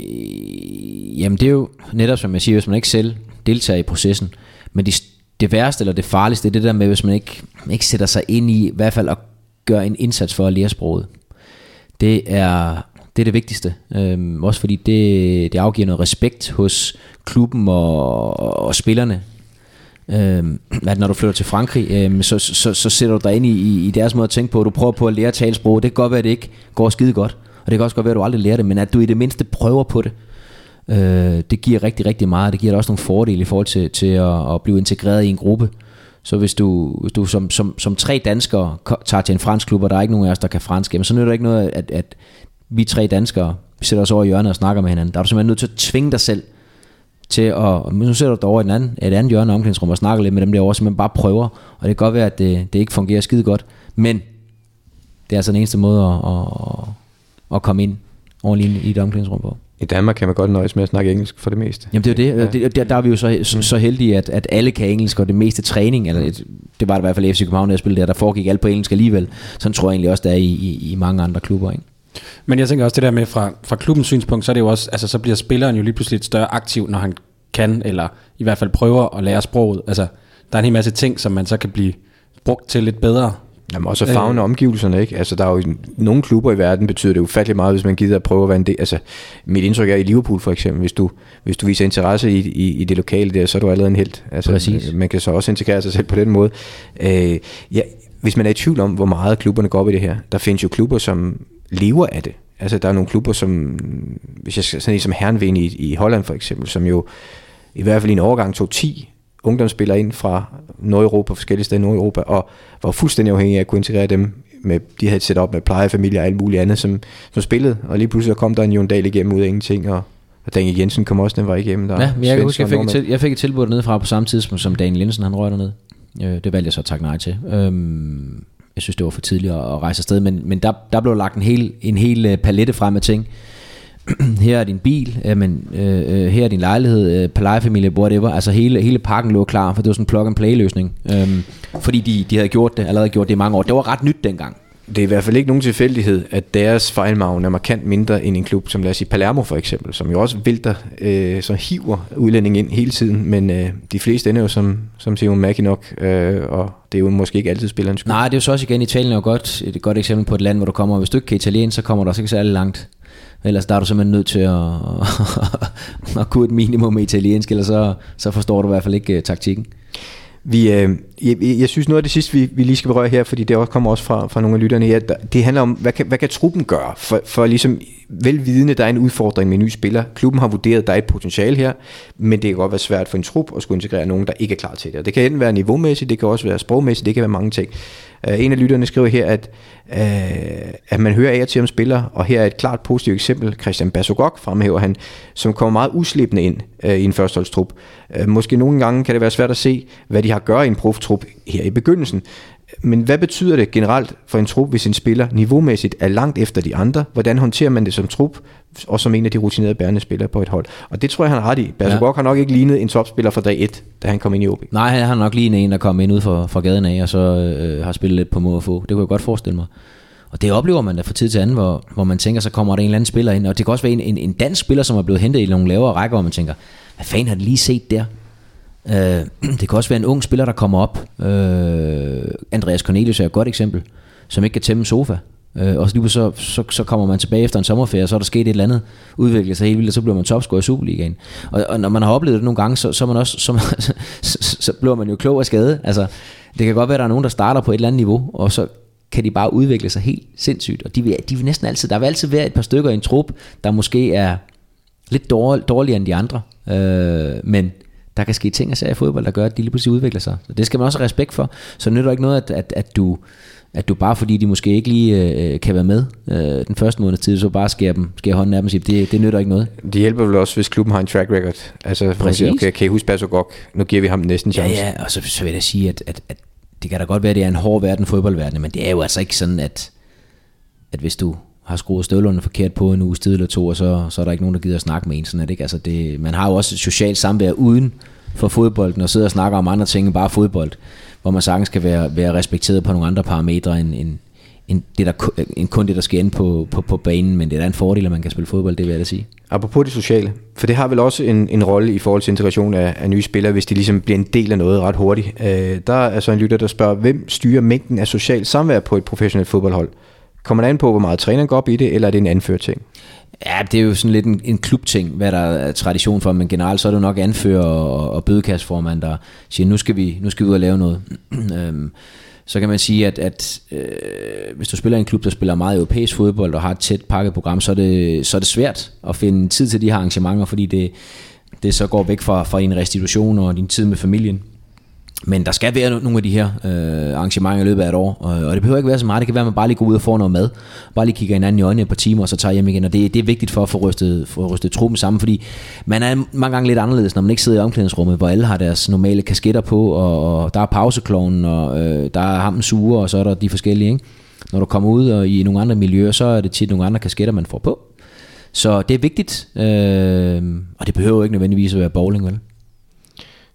Speaker 3: Øh, Jamen det er jo netop som jeg siger, hvis man ikke selv deltager i processen, men det, det værste eller det farligste, det er det der med, hvis man ikke, ikke sætter sig ind i, i hvert fald at gøre en indsats for at lære sproget. Det er det, er det vigtigste. Øhm, også fordi det, det afgiver noget respekt hos klubben og, og spillerne. Øhm, at når du flytter til Frankrig, øhm, så, så, så, så sætter du dig ind i, i, i deres måde at tænke på. Du prøver på at lære at tale sprog. Det kan godt være, at det ikke går skide godt. Og det kan også godt være, at du aldrig lærer det. Men at du i det mindste prøver på det, øh, det giver rigtig, rigtig meget. Det giver dig også nogle fordele i forhold til, til at, at blive integreret i en gruppe, Så hvis du, hvis du som, som, som tre danskere ko- tager til en fransk klub, og der er ikke nogen af os, der kan fransk, jamen så nytter det ikke noget, at, at vi tre danskere sætter os over i hjørnet og snakker med hinanden. Der er du simpelthen nødt til at tvinge dig selv til at, men nu sætter du dig over i den anden, et andet hjørne af omklædningsrummet og snakker lidt med dem derovre, så man bare prøver, og det kan godt være, at det, det ikke fungerer skide godt, men det er altså den eneste måde at, at, at, at komme ind ordentligt ind i et omklædningsrum på.
Speaker 2: I Danmark kan man godt nøjes med at snakke engelsk for det meste.
Speaker 3: Jamen det er jo det, og det der, der er vi jo så, så, så heldige, at, at alle kan engelsk, og det meste træning, eller et, det var det i hvert fald i FC København, der jeg spillede der, der foregik alt på engelsk alligevel. Sådan tror jeg egentlig også, der er i, i, i mange andre klubber, ikke?
Speaker 4: Men jeg tænker også det der med fra, fra klubbens synspunkt, så er det jo også, altså så bliver spilleren jo lige pludselig et større aktiv, når han kan, eller i hvert fald prøver at lære sproget. Altså, der er en hel masse ting, som man så kan blive brugt til lidt bedre.
Speaker 2: Jamen også fagne øh. omgivelserne, ikke? Altså der er jo i nogle klubber i verden, betyder det ufattelig meget, hvis man gider at prøve at være en del. Altså mit indtryk er i Liverpool for eksempel, hvis du, hvis du viser interesse i, i, i det lokale der, så er du allerede en held. Altså,
Speaker 3: Præcis.
Speaker 2: Man kan så også integrere sig selv på den måde. Øh, ja, hvis man er i tvivl om, hvor meget klubberne går op i det her, der findes jo klubber, som lever af det. Altså der er nogle klubber, som, hvis jeg skal sådan en som Herrenven i, i Holland for eksempel, som jo i hvert fald i en overgang tog 10 ungdomsspillere ind fra Nordeuropa, forskellige steder i Nordeuropa, og var fuldstændig afhængig af at kunne integrere dem. Med, de havde et setup med plejefamilier og alt muligt andet, som, som spillede, og lige pludselig kom der en Jon Dahl igennem ud af ingenting, og, og Daniel Jensen kom også, den var igennem. Der
Speaker 3: Ja, men jeg kan huske, jeg fik, et
Speaker 2: til.
Speaker 3: til, jeg fik et tilbud dernede fra på samme tidspunkt, som Daniel Linsen, han røg dernede. Øh, det valgte jeg så at takke nej til. Øhm, jeg synes, det var for tidligt at, at rejse afsted, men, men der, der blev lagt en hel, en hel øh, palette frem af ting. her er din bil, øh, men, øh, øh, her er din lejlighed, øh, plejefamilie, whatever. Altså hele, hele pakken lå klar, for det var sådan en plug-and-play-løsning. Øhm, fordi de, de havde gjort det, allerede gjort det i mange år. Det var ret nyt dengang.
Speaker 2: Det er i hvert fald ikke nogen tilfældighed, at deres fejlmagen er markant mindre end en klub, som lad os sige Palermo for eksempel, som jo også vælter, øh, som hiver udlænding ind hele tiden, men øh, de fleste ender jo som, som Simon Mackinock, øh, og det er jo måske ikke altid spillerens skyld.
Speaker 3: Nej, det er jo så også igen, Italien er jo godt, et godt eksempel på et land, hvor du kommer, hvis du ikke kan italiensk, så kommer du også ikke særlig langt. Ellers der er du simpelthen nødt til at, at kunne et minimum med italiensk, eller så, så forstår du i hvert fald ikke uh, taktikken.
Speaker 2: Vi, øh, jeg, jeg synes noget af det sidste, vi, vi lige skal berøre her, fordi det også kommer også fra, fra nogle af lytterne her, der- det handler om, hvad kan, hvad kan truppen gøre? For, for ligesom velvidende, der er en udfordring med en ny spiller. Klubben har vurderet, at der er et potentiale her, men det kan godt være svært for en trup at skulle integrere nogen, der ikke er klar til det. Og det kan enten være niveaumæssigt, det kan også være sprogmæssigt, det kan være mange ting. Uh, en af lytterne skriver her, at, uh, at man hører af og til om spillere, og her er et klart positivt eksempel. Christian Basogok fremhæver han, som kommer meget uslæbende ind uh, i en førsteholdstrup. Uh, måske nogle gange kan det være svært at se, hvad de har at gøre i en proftrup her i begyndelsen. Men hvad betyder det generelt for en trup, hvis en spiller niveaumæssigt er langt efter de andre? Hvordan håndterer man det som trup, og som en af de rutinerede bærende spillere på et hold? Og det tror jeg, han har ret i. Basogok ja. har nok ikke lignet en topspiller fra dag 1, da han kom ind i OB.
Speaker 3: Nej, han har nok lige en, der kom ind ud fra, fra gaden af, og så øh, har spillet lidt på må og få. Det kunne jeg godt forestille mig. Og det oplever man da fra tid til anden, hvor, hvor man tænker, så kommer der en eller anden spiller ind, og det kan også være en, en, en dansk spiller, som er blevet hentet i nogle lavere rækker, hvor man tænker, hvad fanden har de lige set der? Øh, det kan også være en ung spiller, der kommer op. Øh, Andreas Cornelius er et godt eksempel, som ikke kan tæmme en sofa. Øh, og så, lige pludselig så, så, så kommer man tilbage efter en sommerferie, og så er der sket et eller andet, udvikler sig helt vildt, og så bliver man topscorer i Superligaen. Og, og når man har oplevet det nogle gange, så, så, er man også, så, så, så, så bliver man jo klog af skade. Altså, det kan godt være, at der er nogen, der starter på et eller andet niveau, og så kan de bare udvikle sig helt sindssygt. Og de vil, de vil næsten altid, der vil altid være et par stykker i en trup, der måske er lidt dårlig, dårligere end de andre. Øh, men der kan ske ting og sager i fodbold, der gør, at de lige pludselig udvikler sig. Og det skal man også have respekt for. Så nytter det ikke noget, at, at, at, du, at du bare fordi de måske ikke lige øh, kan være med øh, den første måneds tid, så bare skærer, dem, skærer hånden af dem og siger, det, det nytter ikke noget.
Speaker 2: Det hjælper vel også, hvis klubben har en track record. Altså, Præcis. Man siger,
Speaker 3: Præcis.
Speaker 2: okay, kan I huske Basogok? Nu giver vi ham næsten
Speaker 3: Ja,
Speaker 2: chance.
Speaker 3: ja, og så, så vil jeg da sige, at, at, at det kan da godt være, at det er en hård verden, fodboldverdenen, men det er jo altså ikke sådan, at, at hvis du har skruet støvlerne forkert på en uge tid eller to, og så, så er der ikke nogen, der gider at snakke med en sådan, er det ikke? Altså det, man har jo også et socialt samvær uden for fodbolden, og sidder og snakker om andre ting end bare fodbold, hvor man sagtens kan være, være respekteret på nogle andre parametre end, end, end, det, der, ku- end kun det, der sker inde på, på, på banen, men det er da en fordel, at man kan spille fodbold, det vil jeg da sige.
Speaker 2: Apropos det sociale, for det har vel også en, en rolle i forhold til integration af, af nye spillere, hvis de ligesom bliver en del af noget ret hurtigt. Øh, der er så en lytter, der spørger, hvem styrer mængden af social samvær på et professionelt fodboldhold? Kommer det an på, hvor meget træneren går op i det, eller er det en anfører ting?
Speaker 3: Ja, det er jo sådan lidt en, en klubting, hvad der er tradition for, men generelt så er det jo nok anfører og, og bødekastformand, der siger, nu skal vi, nu skal vi ud og lave noget. øhm, så kan man sige, at, at øh, hvis du spiller i en klub, der spiller meget europæisk fodbold og har et tæt pakket program, så er det, så er det svært at finde tid til de her arrangementer, fordi det, det så går væk fra, fra din restitution og din tid med familien. Men der skal være no- nogle af de her øh, arrangementer i løbet af et år, og, og det behøver ikke være så meget. Det kan være, at man bare lige går ud og får noget mad, bare lige kigger hinanden i øjnene et par timer, og så tager hjem igen. Og det, det er vigtigt for at få rystet, få rystet truppen sammen, fordi man er mange gange lidt anderledes, når man ikke sidder i omklædningsrummet, hvor alle har deres normale kasketter på, og, og der er pauseklonen, og øh, der er ham den sure, og så er der de forskellige. Ikke? Når du kommer ud og i nogle andre miljøer, så er det tit nogle andre kasketter, man får på. Så det er vigtigt, øh, og det behøver jo ikke nødvendigvis at være bowling, vel?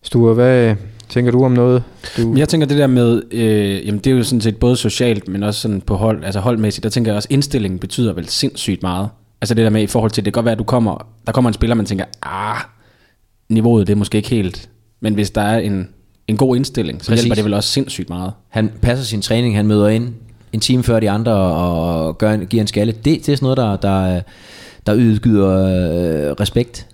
Speaker 2: Sture, hvad øh, tænker du om noget? Du,
Speaker 4: Men Jeg tænker det der med, øh, jamen det er jo sådan set både socialt, men også sådan på hold, altså holdmæssigt, der tænker jeg også, indstillingen betyder vel sindssygt meget. Altså det der med i forhold til, det kan godt være, at du kommer, der kommer en spiller, man tænker, ah, niveauet det er måske ikke helt. Men hvis der er en, en god indstilling, så
Speaker 3: Præcis.
Speaker 4: Præcis. hjælper det vel også sindssygt meget.
Speaker 3: Han passer sin træning, han møder ind en time før de andre og gør en, giver en skalle. Det, det er sådan noget, der, der, øh, der ydgyder øh, respekt.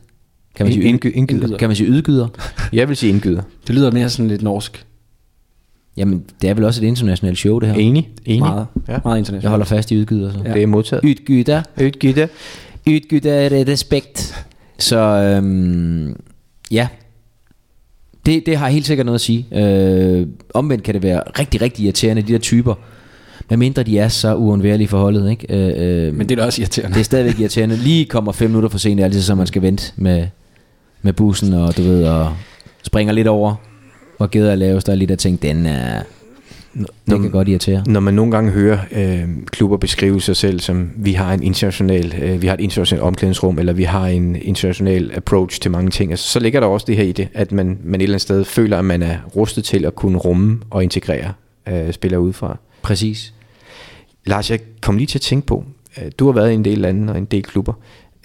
Speaker 3: Kan man, sige,
Speaker 2: Indgy- indgyder.
Speaker 3: kan man sige ydgyder?
Speaker 2: jeg vil sige indgyder.
Speaker 4: Det lyder mere sådan lidt norsk.
Speaker 3: Jamen, det er vel også et internationalt show, det her.
Speaker 2: Enig? Enig?
Speaker 4: Meget,
Speaker 2: Ja.
Speaker 4: ja. meget
Speaker 3: Jeg
Speaker 4: internationalt.
Speaker 3: holder fast i ydgyder. Så.
Speaker 2: Ja. Det er modtaget.
Speaker 3: Ydgyder.
Speaker 2: Ytgitte.
Speaker 3: Ydgyder øh, respekt. Så øhm, ja, det, det har helt sikkert noget at sige. Øh, omvendt kan det være rigtig, rigtig irriterende, de der typer. Medmindre de er så uundværlige i forholdet. Ikke? Øh, øh,
Speaker 4: Men det er da også irriterende.
Speaker 3: Det er stadigvæk irriterende. Lige kommer fem minutter for sent, det er altid så man skal vente med, med bussen, og du ved, og springer lidt over, hvor geder er lavest, der er lige der tænkt, den er... Det kan godt irritere.
Speaker 2: Når man nogle gange hører øh, klubber beskrive sig selv som, vi har en international, øh, vi har et internationalt omklædningsrum, eller vi har en international approach til mange ting, altså, så ligger der også det her i det, at man, man et eller andet sted føler, at man er rustet til at kunne rumme og integrere øh, spillere udefra.
Speaker 3: Præcis.
Speaker 2: Lars, jeg kom lige til at tænke på, øh, du har været i en del lande og en del klubber,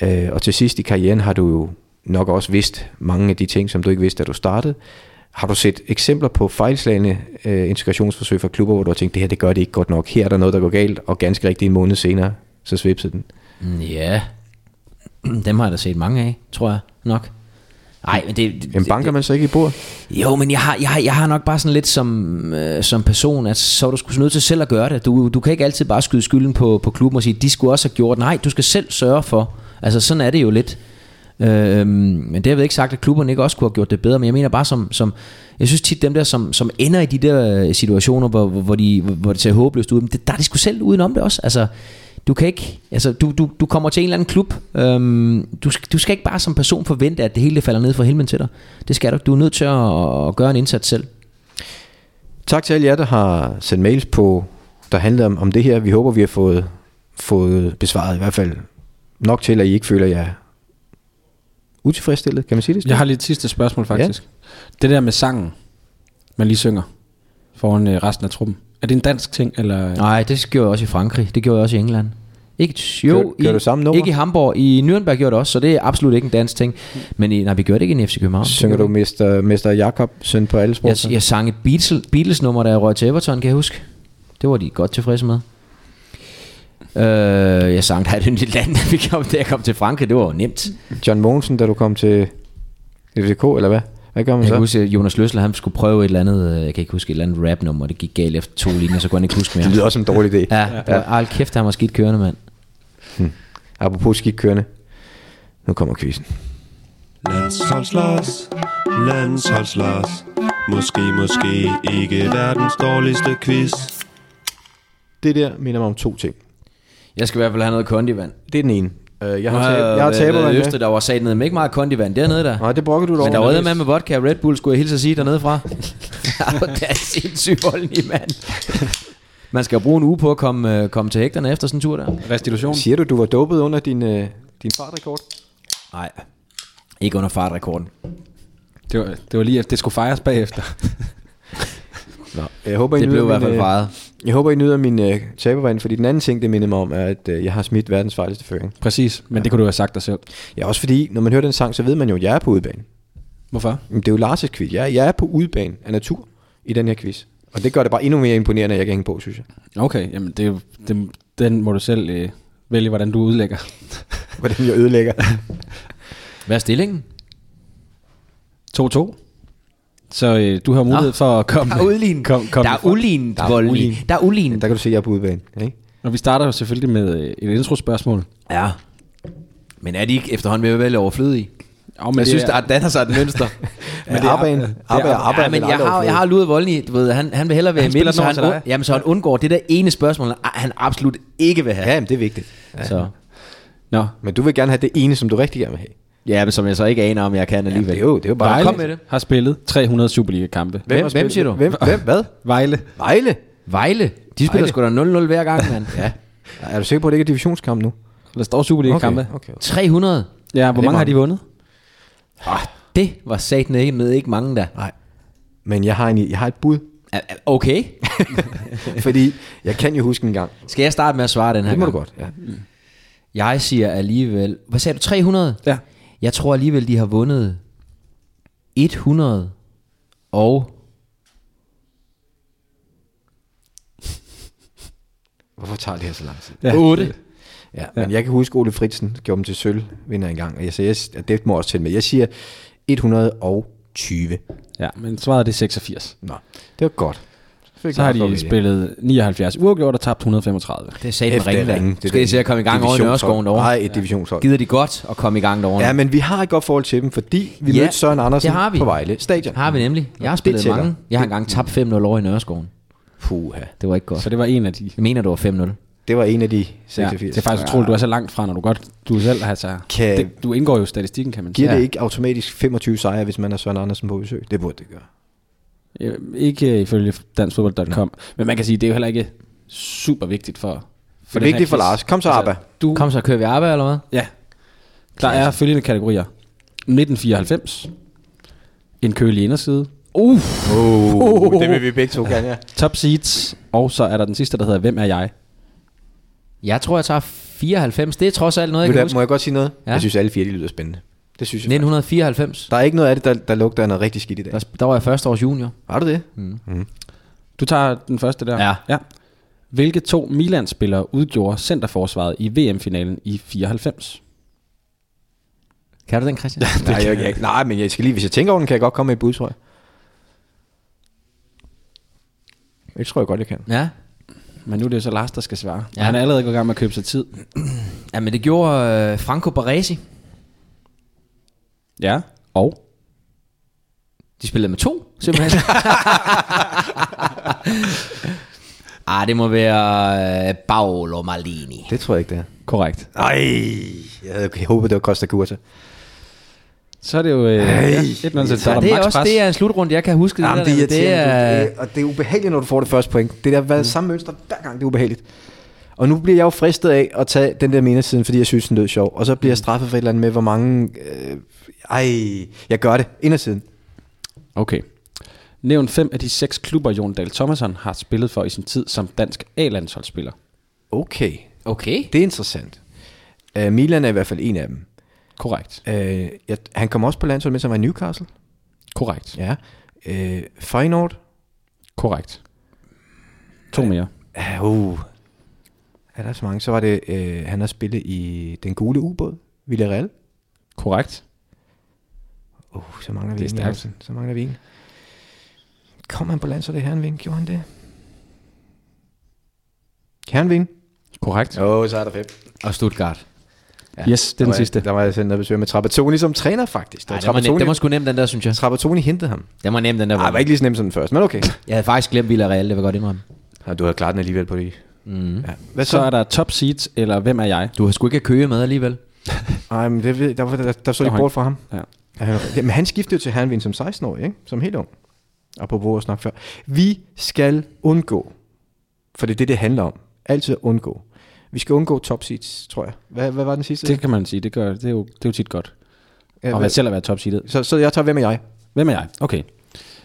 Speaker 2: øh, og til sidst i karrieren har du jo nok også vidst mange af de ting, som du ikke vidste, da du startede. Har du set eksempler på fejlslagende øh, integrationsforsøg fra klubber, hvor du har tænkt, det her det gør det ikke godt nok, her er der noget, der går galt, og ganske rigtigt en måned senere, så svipsede den.
Speaker 3: Mm, Ja. Dem har jeg da set mange af, tror jeg nok. Nej, men det... det-
Speaker 2: Men banker man så ikke i bordet?
Speaker 3: Jo, men jeg har, jeg, har, jeg har nok bare sådan lidt som, øh, som person, at så er du sgu nødt til selv at gøre det. Du, du kan ikke altid bare skyde skylden på, på klubben og sige, de skulle også have gjort. Nej, du skal selv sørge for. Altså, sådan er det jo lidt. Øhm, men det har jeg ikke sagt, at klubberne ikke også kunne have gjort det bedre, men jeg mener bare som, som jeg synes tit dem der, som, som ender i de der øh, situationer, hvor, hvor, hvor, de, hvor det ser håbløst ud, men det, der er de sgu selv udenom det også. Altså, du kan ikke, altså du, du, du kommer til en eller anden klub, øhm, du, sk- du skal ikke bare som person forvente, at det hele det falder ned fra himlen til dig. Det skal du, ikke. du er nødt til at, at gøre en indsats selv.
Speaker 2: Tak til alle jer, der har sendt mails på, der handler om, om det her. Vi håber, vi har fået, fået besvaret i hvert fald nok til, at I ikke føler jer utilfredsstillet. Kan man sige det? Sten?
Speaker 4: Jeg har lige et sidste spørgsmål faktisk. Ja. Det der med sangen, man lige synger foran øh, resten af truppen. Er det en dansk ting, eller...
Speaker 3: Nej, det gjorde jeg også i Frankrig, det gjorde jeg også i England. Ikke, jo,
Speaker 2: Kører- kører
Speaker 3: i,
Speaker 2: du samme nummer?
Speaker 3: ikke i Hamburg, i Nürnberg gjorde det også, så det er absolut ikke en dansk ting. Men i, nej, vi gjorde det ikke i FC København.
Speaker 2: Mm. Synger du Mester, Mester Jakob søn på alle sprog?
Speaker 3: Jeg, jeg sang et Beatles, Beatles nummer, da jeg røg til Everton, kan jeg huske. Det var de godt tilfredse med. Øh, jeg sang, der er et yndigt land, da vi kom, da jeg kom til Frankrig. Det var jo nemt.
Speaker 2: John Mogensen, da du kom til FCK, eller hvad? Hvad gør man
Speaker 3: Jeg kan
Speaker 2: så?
Speaker 3: huske, at Jonas Løsler, han skulle prøve et eller andet, øh, jeg kan ikke huske, et eller andet rapnummer, og det gik galt efter to linjer, så kunne han ikke huske mere.
Speaker 2: Det lyder også som en dårlig idé.
Speaker 3: Ja, det var, al kæft, han var skidt kørende, mand.
Speaker 2: Apropos skikørende. Nu kommer quizzen.
Speaker 7: Landsholdslars, landsholdslars Måske, måske ikke verdens dårligste quiz
Speaker 2: Det der minder mig om to ting.
Speaker 3: Jeg skal i hvert fald have noget kondivand.
Speaker 2: Det er den ene. Øh, Jeg har, tab- jeg har taberen
Speaker 3: Øste,
Speaker 2: med.
Speaker 3: der var sat ned med ikke meget kondivand dernede der.
Speaker 2: Nej, det brokker du dog.
Speaker 3: Men der var
Speaker 2: over.
Speaker 3: med med vodka og Red Bull, skulle jeg hilse at sige dernede fra. det er sindssygt voldelig, mand. Man skal jo bruge en uge på at komme, øh, komme til hægterne efter sådan en tur der.
Speaker 4: Restitution?
Speaker 2: Siger du, du var dopet under din, øh, din fartrekord?
Speaker 3: Nej, ikke under fartrekorden.
Speaker 4: Det var, det var lige efter, det skulle fejres bagefter.
Speaker 2: Jeg håber, I
Speaker 3: Det
Speaker 2: nyder
Speaker 3: blev i hvert
Speaker 2: min,
Speaker 3: fald
Speaker 2: øh,
Speaker 3: fejret.
Speaker 2: Jeg håber, I nyder min øh, tabervand, fordi den anden ting, det minder mig om, er, at øh, jeg har smidt verdens farligste føring.
Speaker 4: Præcis, men ja. det kunne du have sagt dig selv.
Speaker 2: Ja, også fordi, når man hører den sang, så ved man jo, at jeg er på udebane.
Speaker 4: Hvorfor?
Speaker 2: Jamen, det er jo Lars' quiz. Jeg, jeg er på udebane af natur i den her quiz. Og det gør det bare endnu mere imponerende, at jeg kan hænge på, synes jeg.
Speaker 4: Okay, jamen det, er jo- det, den må du selv øh, vælge, hvordan du udlægger.
Speaker 2: Hvordan jeg ødelægger.
Speaker 3: Hvad er stillingen?
Speaker 4: 2-2. Så øh, du har mulighed Nå. for at komme...
Speaker 3: Der er udlignet.
Speaker 4: Kom, kom
Speaker 3: der er
Speaker 4: fra-
Speaker 3: ulignet
Speaker 2: Der er
Speaker 3: voldelig.
Speaker 2: ulignet.
Speaker 3: Der er
Speaker 2: Men
Speaker 3: ulignet.
Speaker 2: der kan du se, at jeg er på udebane. Ikke?
Speaker 4: Og vi starter jo selvfølgelig med øh, et introspørgsmål.
Speaker 3: Ja. Men er de ikke efterhånden ved at være overflødige?
Speaker 4: Oh,
Speaker 3: Jeg synes, der er danner sig et mønster.
Speaker 2: Men det er Arban. Arban er Arban.
Speaker 3: Ja, men jeg har, jeg har luret Voldny, du ved, han, han vil hellere være i
Speaker 4: Han
Speaker 3: midten, så
Speaker 4: spiller den
Speaker 3: han,
Speaker 4: over til
Speaker 3: und,
Speaker 4: dig.
Speaker 3: jamen, så han undgår det der ene spørgsmål, han- han absolut ikke vil have.
Speaker 2: Ja, men det er vigtigt.
Speaker 3: Ja. Så.
Speaker 4: Nå,
Speaker 2: Men du vil gerne have det ene, som du rigtig gerne vil have.
Speaker 3: ja, men som jeg så ikke aner, om jeg kan alligevel.
Speaker 2: det er jo- det er jo bare-
Speaker 3: Vejle.
Speaker 2: Kom
Speaker 3: Kom med det.
Speaker 4: har spillet 300 Superliga-kampe.
Speaker 3: Hvem-
Speaker 2: har spillet-
Speaker 3: hvem siger du?
Speaker 2: Hvem, hvem, hvad?
Speaker 4: Vejle.
Speaker 2: Vejle?
Speaker 3: Vejle. De spiller
Speaker 2: Vejle.
Speaker 3: sgu da 0-0 hver gang, mand. ja.
Speaker 2: Er du sikker på, at det ikke er divisionskamp nu?
Speaker 4: Der står Superliga-kampe.
Speaker 2: okay. okay.
Speaker 3: 300.
Speaker 4: Ja, hvor
Speaker 2: det er
Speaker 4: mange har de vundet?
Speaker 3: Ah, Det var satan ikke med ikke mange der.
Speaker 2: Nej. Men jeg har, en, jeg har et bud.
Speaker 3: Er- er- Okay.
Speaker 2: fordi jeg kan jo huske en gang.
Speaker 3: Skal jeg starte med at svare den her
Speaker 2: Det må du
Speaker 3: gang?
Speaker 2: godt. Ja.
Speaker 3: Jeg siger alligevel... Hvad sagde du? 300?
Speaker 4: Ja.
Speaker 3: Jeg tror alligevel, de har vundet 100 og...
Speaker 2: Hvorfor tager det her så lang tid?
Speaker 4: Ja.
Speaker 3: 8.
Speaker 2: Ja, men jeg kan huske, Ole Fritsen gjorde dem til sølvvinder engang. Og jeg sagde, jeg- at det må også tælle med. Jeg siger 120.
Speaker 4: Ja, men svaret er det 86.
Speaker 2: Nå, det var godt. Fik
Speaker 4: Så har
Speaker 2: jeg for at
Speaker 4: de
Speaker 2: vælge.
Speaker 4: spillet 79 uafgjort og tabt 135.
Speaker 3: Det sagde den
Speaker 2: Efter
Speaker 3: ringe
Speaker 2: ringen.
Speaker 3: der. Skal de se at komme i gang over i
Speaker 2: divisionshold.
Speaker 3: Nørreskoven over?
Speaker 2: Nej, et divisionshold.
Speaker 3: Gider de godt at komme i gang derovre?
Speaker 2: Ja, men vi har et godt forhold til dem, fordi vi ja, mødte Søren Andersen
Speaker 3: det har vi.
Speaker 2: på Vejle Stadion.
Speaker 3: Har vi nemlig. Jeg har
Speaker 2: Det
Speaker 3: spillet
Speaker 2: tæller.
Speaker 3: mange. Jeg har engang tabt 5-0 over i Nørreskoven.
Speaker 2: Puha.
Speaker 3: Det var ikke godt.
Speaker 4: Så det var en af de.
Speaker 3: Jeg mener, det var 5-0.
Speaker 2: Det var en af de 86.
Speaker 4: Ja, det er faktisk utroligt, du er så langt fra, når du godt du selv har sig.
Speaker 2: Kan-
Speaker 4: Det, du indgår jo i statistikken, kan man sige.
Speaker 2: Giver
Speaker 4: Ja.
Speaker 2: det ikke automatisk 25 sejre, hvis man har Søren Andersen på besøg? Det burde det gøre.
Speaker 4: Øh, Ikke øh, ifølge danskfodbold.com. Men man kan sige, det er jo heller ikke super vigtigt for... for
Speaker 2: For
Speaker 4: den
Speaker 2: det er vigtigt
Speaker 4: her
Speaker 2: for
Speaker 4: quiz.
Speaker 2: Lars. Kom
Speaker 3: Altså-
Speaker 2: så, Abba.
Speaker 4: Du,
Speaker 3: Kom så, kører vi arbejde eller hvad?
Speaker 4: Ja. Der er følgende kategorier. 1994. En kølig inderside.
Speaker 2: Uh, det vil vi begge to gerne, ja.
Speaker 4: Top seeds. Og så er der den sidste, der hedder Hvem er jeg?
Speaker 3: Jeg tror, jeg tager 94. Det er trods alt noget, jeg
Speaker 2: Ved
Speaker 3: kan
Speaker 2: du
Speaker 3: huske.
Speaker 2: hvad, Må jeg godt sige noget?
Speaker 3: Ja.
Speaker 2: Jeg synes, alle fire de lyder spændende. Det synes jeg. faktisk.
Speaker 3: 1994.
Speaker 2: Der er ikke noget af det, der, der lugter af noget rigtig skidt i dag. Mm.
Speaker 3: Der, der var jeg første års junior.
Speaker 2: Har du det?
Speaker 4: Du tager den første der?
Speaker 3: Ja.
Speaker 4: ja. Hvilke to Milan-spillere udgjorde centerforsvaret i VM-finalen i 94?
Speaker 3: Kan du den, Christian?
Speaker 2: Nej, jeg, jeg, nej, men jeg skal lige, hvis jeg tænker over den, kan jeg godt komme med et bud, tror jeg. Det tror jeg godt, jeg kan.
Speaker 3: ja.
Speaker 4: Men nu er det jo så Lars, der skal svare.
Speaker 3: Ja.
Speaker 4: Ja. Han er allerede gået i gang med at købe sig tid.
Speaker 3: ja, men det gjorde øh, Franco Baresi.
Speaker 4: Ja. Og?
Speaker 3: De spillede med to, simpelthen. ah, det må være øh, Paolo Maldini.
Speaker 2: Det tror jeg ikke, det er.
Speaker 4: Korrekt.
Speaker 2: Nej, jeg havde jeg håbet, det var Costa Curta.
Speaker 4: Så er det jo... Øh, ja, 1-0 til
Speaker 3: Ja,
Speaker 4: Donald
Speaker 3: det er
Speaker 4: Max
Speaker 3: også
Speaker 4: Pres.
Speaker 3: det er en slutrunde, jeg kan huske.
Speaker 2: Jamen,
Speaker 3: der,
Speaker 2: det er
Speaker 3: det er,
Speaker 2: irriterende. du. Det, og det er ubehageligt, når du får det første point. Det der har været samme mønster hver gang, det er ubehageligt. Og nu bliver jeg jo fristet af at tage den der menersiden, fordi jeg synes, den lød sjov. Og så bliver jeg straffet for et eller andet med, hvor mange... Øh, ej, jeg gør det. Indersiden.
Speaker 4: Okay. Nævn fem af de seks klubber, Jon Dahl Thomasson har spillet for i sin tid som dansk A-landsholdsspiller.
Speaker 2: Okay,
Speaker 3: Okay.
Speaker 2: det er interessant. Uh, Milan er i hvert fald en af dem.
Speaker 4: Korrekt.
Speaker 2: Uh, jeg, han kom også på landsholdet, mens han var i Newcastle.
Speaker 4: Korrekt.
Speaker 2: Ja. Uh, Feyenoord.
Speaker 4: Korrekt. To mere.
Speaker 2: Uh, uh. Er der så mange? Så var det, uh, han har spillet i Den Gule Ubåd. Villarreal.
Speaker 4: Korrekt.
Speaker 2: Uh, så mangler vi
Speaker 4: Det er
Speaker 2: en.
Speaker 4: stærkt.
Speaker 2: Jacobsen. Så mangler vi en. Kom han på land, så det Herrenvin. Gjorde han det? Herrenvin?
Speaker 4: Korrekt.
Speaker 2: Åh, oh, så er der fem.
Speaker 3: Og Stuttgart.
Speaker 4: Ja. Yes, det er den sidste.
Speaker 2: Der var jeg selv nede og besøge med Trapattoni som træner, faktisk. Der
Speaker 3: Ej,
Speaker 2: var
Speaker 3: den, var nem,
Speaker 2: Trapattoni,
Speaker 3: den var sgu nem, den der, synes jeg.
Speaker 2: Trapattoni hentede ham.
Speaker 3: Den var nem, den der.
Speaker 2: Nej, var ikke lige så nemt som den første, men okay.
Speaker 3: Jeg havde faktisk glemt Villarreal, det vil jeg godt indrømme.
Speaker 2: Ja, du havde klaret den alligevel på det. Mm. Ja. Hvad
Speaker 4: Så er
Speaker 2: så?
Speaker 4: der top seeds, eller hvem er jeg?
Speaker 3: Du har sgu ikke at køge med alligevel.
Speaker 2: Nej, men det, ved- der, var- der, der, der så de
Speaker 4: Nå,
Speaker 2: bort fra ham.
Speaker 4: Ja.
Speaker 2: Ja, Men han skiftede jo til Herrenvin som 16-årig, ikke? Som helt ung. Apropos at snakke før. Vi skal undgå, for det er det, det handler om. Altid at undgå. Vi skal undgå top seeds, tror jeg. Hvad, hvad var den sidste?
Speaker 4: Det kan man sige, det, gør, det, er, jo, det er jo tit godt.
Speaker 2: ja,
Speaker 4: Og
Speaker 2: hvad,
Speaker 4: hvad selv at være top seedet.
Speaker 2: så, så jeg tager, hvem er jeg?
Speaker 4: Hvem er jeg? Okay.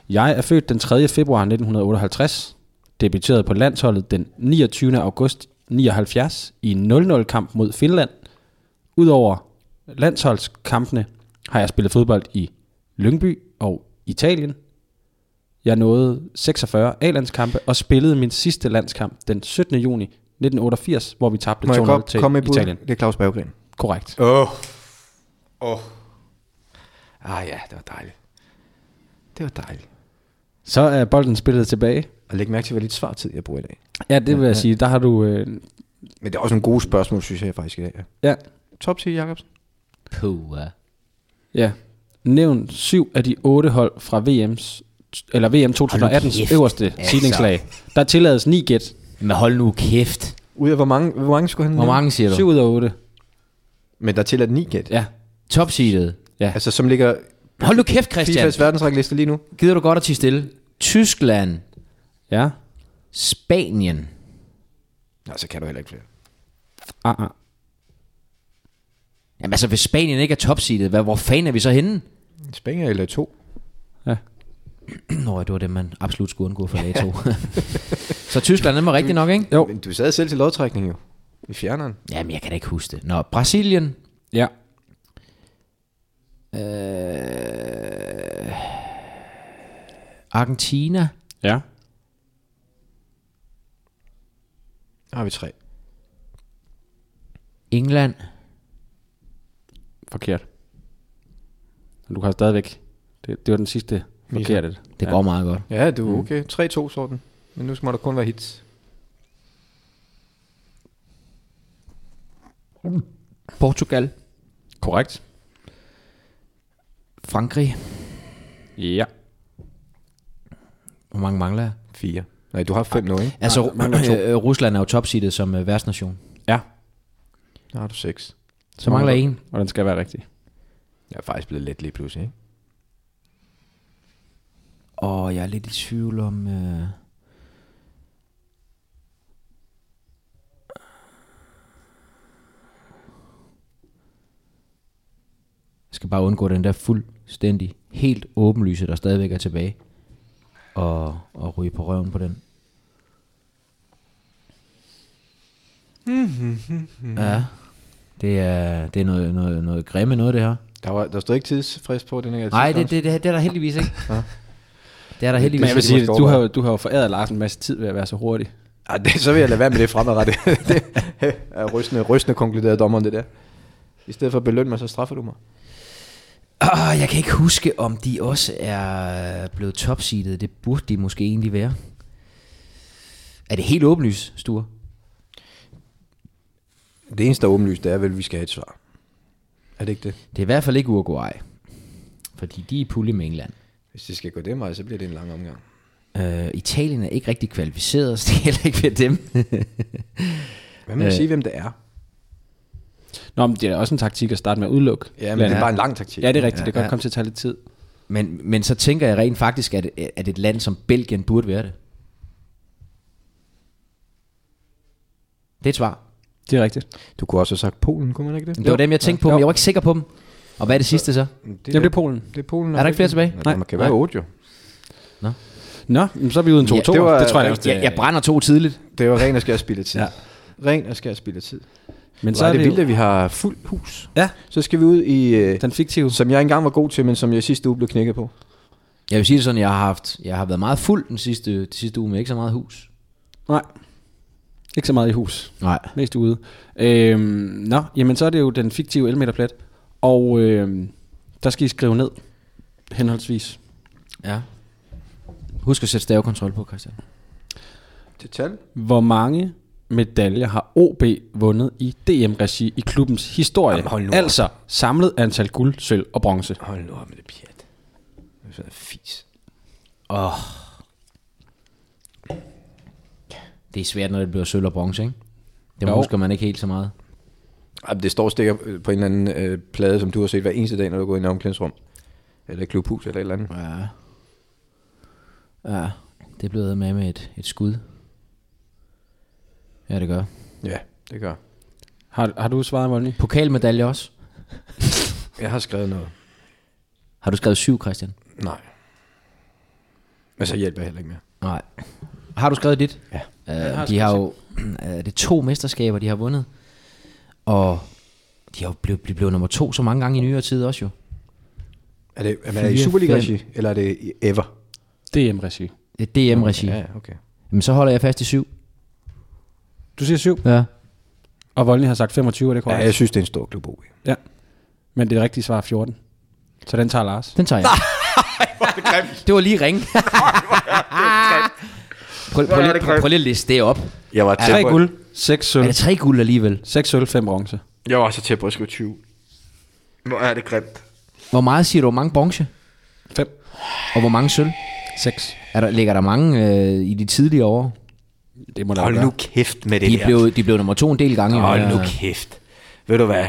Speaker 4: Jeg er født den 3. februar 1958, debuterede på landsholdet den 29. august 79 i en 0-0-kamp mod Finland. Udover landsholdskampene har jeg spillet fodbold i Lyngby og Italien. Jeg nåede 46 A-landskampe og spillede min sidste landskamp den 17. juni 1988, hvor vi tabte
Speaker 2: Må jeg
Speaker 4: 2-0
Speaker 2: godt
Speaker 4: til
Speaker 2: komme med et bud?
Speaker 4: Italien.
Speaker 2: Det er Claus Berggren.
Speaker 4: Korrekt.
Speaker 2: Åh. Oh. Åh. Oh. Ah ja, det var dejligt. Det var dejligt.
Speaker 4: Så er bolden spillet tilbage.
Speaker 2: Og læg mærke til, hvor lidt svartid jeg bruger i dag.
Speaker 4: Ja, det vil jeg sige. Der har du... Øh,
Speaker 2: Men det er også nogle gode spørgsmål, synes jeg faktisk i dag. Ja.
Speaker 4: ja,
Speaker 2: Top seed, Jacobsen.
Speaker 3: Puh.
Speaker 4: Ja. Nævn syv af de otte hold fra VM's, eller VM 2018's
Speaker 3: kæft,
Speaker 4: øverste
Speaker 3: altså.
Speaker 4: seedingslag. Der tillades ni gæt.
Speaker 3: Men hold nu kæft.
Speaker 2: Ud af hvor mange, hvor mange skulle han
Speaker 3: Hvor
Speaker 2: nævne?
Speaker 3: mange siger
Speaker 4: Syv
Speaker 3: du?
Speaker 4: ud af otte.
Speaker 2: Men der er tilladt ni gæt.
Speaker 4: Ja.
Speaker 3: Topseedet.
Speaker 4: Ja.
Speaker 2: Altså, som ligger
Speaker 3: Hold nu kæft, Christian.
Speaker 2: FIFAs verdensrangliste lige nu.
Speaker 3: Gider du godt at tige stille? Tyskland,
Speaker 4: Ja.
Speaker 3: Spanien,
Speaker 2: Nej, så kan du heller ikke flere.
Speaker 4: Ah, ah.
Speaker 3: Jamen altså, hvis Spanien ikke er topseedet, hvad, hvor fanden er vi så henne?
Speaker 2: Spanien eller to.
Speaker 3: Nå, ja, det var det, man absolut skulle undgå for lag 2. så Tyskland, den var rigtig nok, ikke?
Speaker 4: Jo.
Speaker 2: Men du sad selv til lodtrækning jo. I fjerneren.
Speaker 3: Jamen, jeg kan da ikke huske det. Nå, Brasilien.
Speaker 4: Ja.
Speaker 3: Argentina.
Speaker 4: Ja.
Speaker 2: Der har vi tre.
Speaker 3: England.
Speaker 4: Forkert. Men Du kan stadigvæk... Det, det var den sidste forkerte.
Speaker 3: Det går meget godt.
Speaker 2: Ja, du er okay. 3-2 sorten. Men nu må der kun være hits.
Speaker 3: Portugal.
Speaker 4: Korrekt.
Speaker 3: Frankrig.
Speaker 4: Ja.
Speaker 3: Hvor mange mangler jeg?
Speaker 2: Fire. Nej, du har fem nu, ikke?
Speaker 3: Altså, øh, Rusland er jo topseedet som øh, værtsnation.
Speaker 4: Ja.
Speaker 2: Der har du seks.
Speaker 3: Så mangler en.
Speaker 4: Og den skal være rigtig.
Speaker 2: Jeg er faktisk blevet let lige pludselig, ikke?
Speaker 3: Og jeg er lidt i tvivl om... Øh... Jeg skal bare undgå den der fuldstændig, helt åbenlyse, der stadigvæk er tilbage. Og, og ryge på røven på den. ja, det er, det er noget, noget, noget grimme noget, det her.
Speaker 2: Der, var, der stod ikke tidsfrist på den her.
Speaker 3: Nej, det,
Speaker 2: tidsgrænse.
Speaker 3: det, det, det er der heldigvis ikke. Det er der heldigvis
Speaker 4: Men jeg vil
Speaker 3: ikke.
Speaker 4: sige,
Speaker 2: måske
Speaker 4: du har,
Speaker 2: overveje.
Speaker 4: jo- du har jo foræret Lars en masse tid ved at være så hurtig.
Speaker 2: Ej, Ah, det, så vil jeg lade være med det fremadrettet. det er rystende, rystende konkluderede dommeren det der. I stedet for at belønne mig, så straffer du mig.
Speaker 3: Ah, jeg kan ikke huske, om de også er blevet topseedet. Det burde de måske egentlig være. Er det helt åbenlyst, Sture?
Speaker 2: Det eneste, der er åbenlyst, det er vel, at vi skal have et svar. Er det ikke det?
Speaker 3: Det er i hvert fald ikke Uruguay. Fordi de er i pulje med England.
Speaker 2: Hvis det skal gå den vej, så bliver det en lang omgang.
Speaker 3: Øh, Italien er ikke rigtig kvalificeret, så det er heller ikke ved dem.
Speaker 2: Hvad med at sige, hvem det er?
Speaker 4: Nå, men det er også en taktik at starte med at udelukke.
Speaker 2: Ja, men
Speaker 4: lande.
Speaker 2: det er bare en lang taktik.
Speaker 4: Ja, det er rigtigt. Det kan
Speaker 3: Ja.
Speaker 4: ja. komme til at tage lidt tid.
Speaker 3: men, men så tænker jeg rent faktisk, at, at et land som Belgien burde være det. Det er et svar.
Speaker 4: Det er rigtigt.
Speaker 2: Du kunne også have sagt Polen, kunne man ikke det?
Speaker 3: Det var dem, jeg tænkte på, men jeg var ikke sikker på dem. Og hvad er det sidste så?
Speaker 2: Det,
Speaker 4: Jamen, det er Polen.
Speaker 2: Det er Polen.
Speaker 3: Er der ikke flere tilbage?
Speaker 2: Nej,
Speaker 4: Nej.
Speaker 2: man kan være
Speaker 4: Nej.
Speaker 2: otte jo.
Speaker 4: Nå, men så er vi uden 2-2.
Speaker 3: Ja,
Speaker 4: Ja,
Speaker 2: det
Speaker 4: det,
Speaker 2: var-
Speaker 4: det tror jeg også.
Speaker 3: Jeg, jeg brænder to tidligt.
Speaker 2: Det var ren og skær spillet tid.
Speaker 4: Ja.
Speaker 2: Ren og skær spillet tid.
Speaker 4: men
Speaker 2: Så er det vildt, at vi har fuld hus.
Speaker 4: Ja.
Speaker 2: Så skal vi ud i, øh,
Speaker 4: Den fiktive.
Speaker 2: som jeg engang var god til, men som jeg sidste uge blev knækket på.
Speaker 3: Jeg vil sige det sådan, jeg har haft, jeg har været meget fuld den sidste, den sidste uge, men ikke så meget hus.
Speaker 4: Nej. Ikke så meget i hus.
Speaker 3: Nej.
Speaker 4: Mest ude. Øhm, nå, jamen så er det jo den fiktive elmeterplet. Og øhm, der skal I skrive ned henholdsvis.
Speaker 3: Ja. Husk at sætte stavekontrol på, Christian.
Speaker 2: Til tal?
Speaker 4: Hvor mange medaljer har OB vundet i DM-regi i klubbens historie?
Speaker 2: Jamen, hold nu op.
Speaker 4: altså samlet antal guld, sølv og bronze.
Speaker 2: Hold nu op med det pjat. Det er sådan en fis.
Speaker 3: Det er svært, når det bliver sølv og bronze, ikke? Det
Speaker 4: Jo.
Speaker 3: husker man ikke helt så meget.
Speaker 2: Ej, Det står og stikker øh, på en eller anden øh, plade, som du har set hver eneste dag, når du går ind i omklædningsrum. Eller i klubhus eller et eller andet.
Speaker 3: Ja. Ja. Det blev jeg med med et, et skud. Ja, det gør.
Speaker 2: Ja, det gør.
Speaker 4: Har, har du svaret, Molny?
Speaker 3: Pokalmedalje også.
Speaker 2: Jeg har skrevet noget.
Speaker 3: Har du skrevet syv, Christian?
Speaker 2: Nej. Men så hjælper jeg heller ikke mere.
Speaker 3: Nej. Har du skrevet dit? Ja. Øh, de har jo øh, det er to mesterskaber, de har vundet. Og de har jo blevet, blevet, blevet nummer to så mange gange i nyere tid også jo.
Speaker 2: Er det, er man i
Speaker 3: Fire,
Speaker 2: Superliga-regi, eller er det i ever?
Speaker 4: DM-regi.
Speaker 3: Et DM-regi.
Speaker 2: Ja,
Speaker 3: Okay.
Speaker 2: ja, okay.
Speaker 3: Men så holder jeg fast i syv.
Speaker 4: Du siger 7,
Speaker 3: Ja.
Speaker 4: og Volny har sagt 25, er det
Speaker 2: Ja,
Speaker 4: korrekt?
Speaker 2: jeg synes, det er en stor klub, OB.
Speaker 4: Ja. Men det rigtige svar er 14. Så den tager Lars.
Speaker 3: Den tager jeg. det var lige ring. prøv, prøv, lige, prøv, prøv lige at liste det op.
Speaker 2: Jeg var
Speaker 4: Tre guld, seks
Speaker 3: Er
Speaker 4: sølv,
Speaker 3: det tre guld alligevel?
Speaker 4: seks sølv, fem bronze.
Speaker 2: Jeg var så tæt på at skrive 20. Hvor er det grimt.
Speaker 3: Hvor meget siger du? Hvor mange bronze?
Speaker 4: Fem.
Speaker 3: Og hvor mange sølv?
Speaker 4: Seks.
Speaker 3: Er der, ligger der mange øh, i de tidligere år?
Speaker 4: Det må der
Speaker 8: Hold
Speaker 4: jo
Speaker 8: nu
Speaker 4: gøre.
Speaker 8: kæft med det
Speaker 3: De
Speaker 8: der.
Speaker 3: blev, de blev nummer to en del gange. i
Speaker 8: Hold
Speaker 3: hver-
Speaker 8: nu kæft. Ved du hvad?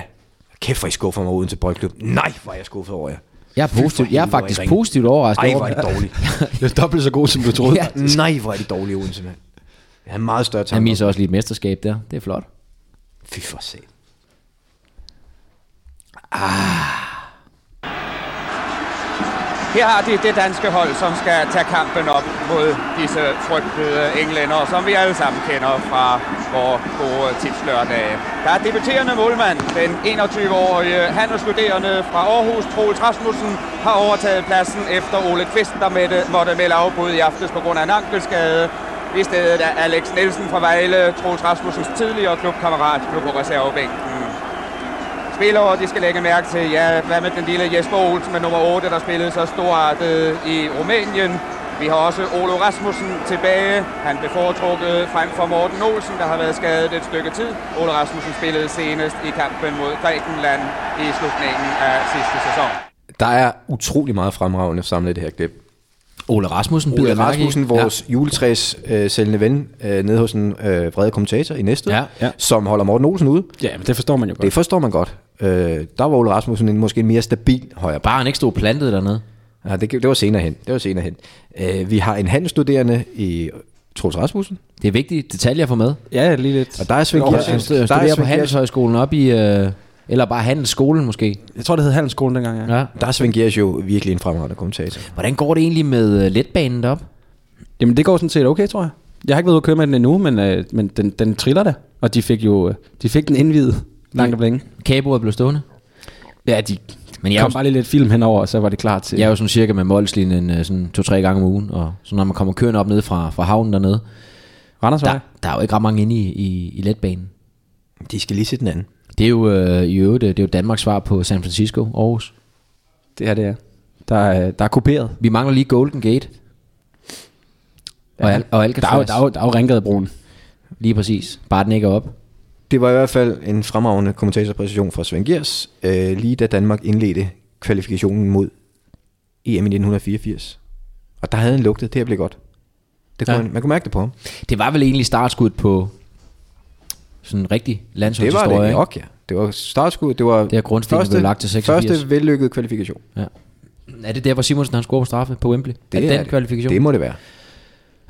Speaker 8: Kæft, hvor I skuffer mig uden til boldklub. Nej, hvor er jeg skuffet over jer.
Speaker 3: Jeg er,
Speaker 8: Fy for
Speaker 3: positiv, jeg er
Speaker 8: helvede,
Speaker 3: faktisk
Speaker 8: hvor I ringe.
Speaker 3: positivt overrasket
Speaker 8: Ej,
Speaker 3: over
Speaker 8: hvor er det dårligt.
Speaker 4: Det er dobbelt så god, som du troede.
Speaker 3: Ja.
Speaker 4: ja.
Speaker 8: Nej, hvor er de dårlige Odense, mand. Jeg har meget større tanker.
Speaker 3: Han misser også lige et mesterskab der. Det er flot.
Speaker 8: Fy for sat.
Speaker 9: Her har de det danske hold, som skal tage kampen op mod disse frygtede englænder, som vi alle sammen kender fra vores gode tipslørdage. Der er debuterende målmand, den 21-årige handelsstuderende fra Aarhus, Troels Rasmussen, har overtaget pladsen efter Ole Kvist, der måtte, måtte melde afbud i aftes på grund af en ankelskade. I stedet er Alex Nielsen fra Vejle, Troels Rasmussens tidligere klubkammerat, nu på reservebænken spillere, de skal lægge mærke til. Ja, hvad med den lille Jesper Olsen med nummer 8, der spillede så storartet i Rumænien. Vi har også Olo Rasmussen tilbage. Han blev foretrukket frem for Morten Olsen, der har været skadet et stykke tid. Olo Rasmussen spillede senest i kampen mod Grækenland i slutningen af sidste sæson.
Speaker 2: Der er utrolig meget fremragende samlet i det her klip.
Speaker 3: Ole Rasmussen bider
Speaker 2: Ole
Speaker 3: mærke i.
Speaker 2: Rasmussen, vores ja. juletræs øh, sælgende ven, øh, nede hos en øh, vrede kommentator i næste,
Speaker 3: Ja,
Speaker 4: ja.
Speaker 2: som holder Morten Olsen ude.
Speaker 4: ja, men det forstår man jo godt.
Speaker 2: Det forstår man godt. Øh, der var Ole Rasmussen en, måske en mere stabil højre
Speaker 3: Bare han ikke stod plantet dernede.
Speaker 2: Ja, det, det var senere hen. Det var senere hen. Øh, vi har en handelsstuderende i Troels Rasmussen,
Speaker 3: Det er vigtige detaljer at få med.
Speaker 4: Ja, lige lidt.
Speaker 2: og der er Svend
Speaker 4: Nå,
Speaker 2: Kjær-
Speaker 4: han
Speaker 2: der er
Speaker 3: Han studerer på
Speaker 2: Svend Kjær-
Speaker 3: Handelshøjskolen op i... Øh, eller bare Handelsskolen måske.
Speaker 4: Jeg tror, det hed Handelsskolen dengang, ja.
Speaker 3: Ja.
Speaker 2: Der er Svend Gers jo virkelig en fremragende kommentator.
Speaker 3: Hvordan går det egentlig med øh, letbanen op?
Speaker 4: Jamen, det går sådan set okay, tror jeg. Jeg har ikke været ude at køre med den endnu, men, øh, men den, den triller da. Og de fik jo øh, de fik den indvidet langt om længe.
Speaker 3: Kagebordet blev stående.
Speaker 4: Ja, de
Speaker 3: Men jeg er
Speaker 4: kom
Speaker 3: jo-
Speaker 4: bare lige lidt film henover, og så var det klar til.
Speaker 3: Jeg er jo sådan cirka med Molslinjen øh, sådan to-tre gange om ugen, og så når man kommer kørende op nede fra, fra havnen dernede,
Speaker 4: Randers
Speaker 3: der, der er jo ikke ret mange inde i, i, i letbanen.
Speaker 2: De skal lige se den anden.
Speaker 3: Det er jo øh, i øvrigt, øh, det er jo Danmarks svar på San Francisco, Aarhus.
Speaker 4: Det her, det er. Der er, der er kopieret.
Speaker 3: Vi mangler lige Golden Gate. Og, Al- og
Speaker 4: Der er jo,
Speaker 3: Alcatraz.
Speaker 4: der er jo, der er jo Ringgadebroen.
Speaker 3: Lige præcis. Bare den ikke er op.
Speaker 2: Det var i hvert fald en fremragende kommentatorpræcision fra Svend Gers, øh, lige da Danmark indledte kvalifikationen mod EM i 1984. Og der havde han lugtet, det her blev godt. Det kunne
Speaker 3: Ja.
Speaker 2: ja. man, man kunne mærke det på ham.
Speaker 3: Det var vel egentlig startskuddet på sådan en rigtig
Speaker 2: Det var
Speaker 3: landsholdshistorie.
Speaker 2: det
Speaker 3: ikke?
Speaker 2: nok, ja. Det var startskud, det var
Speaker 3: Det er grundstenen, der blev lagt til 86.
Speaker 2: første vellykkede kvalifikation.
Speaker 3: Er det der, hvor Simonsen han scorer på straffe på Wembley? Det er, det den kvalifikation?
Speaker 2: Det må det være.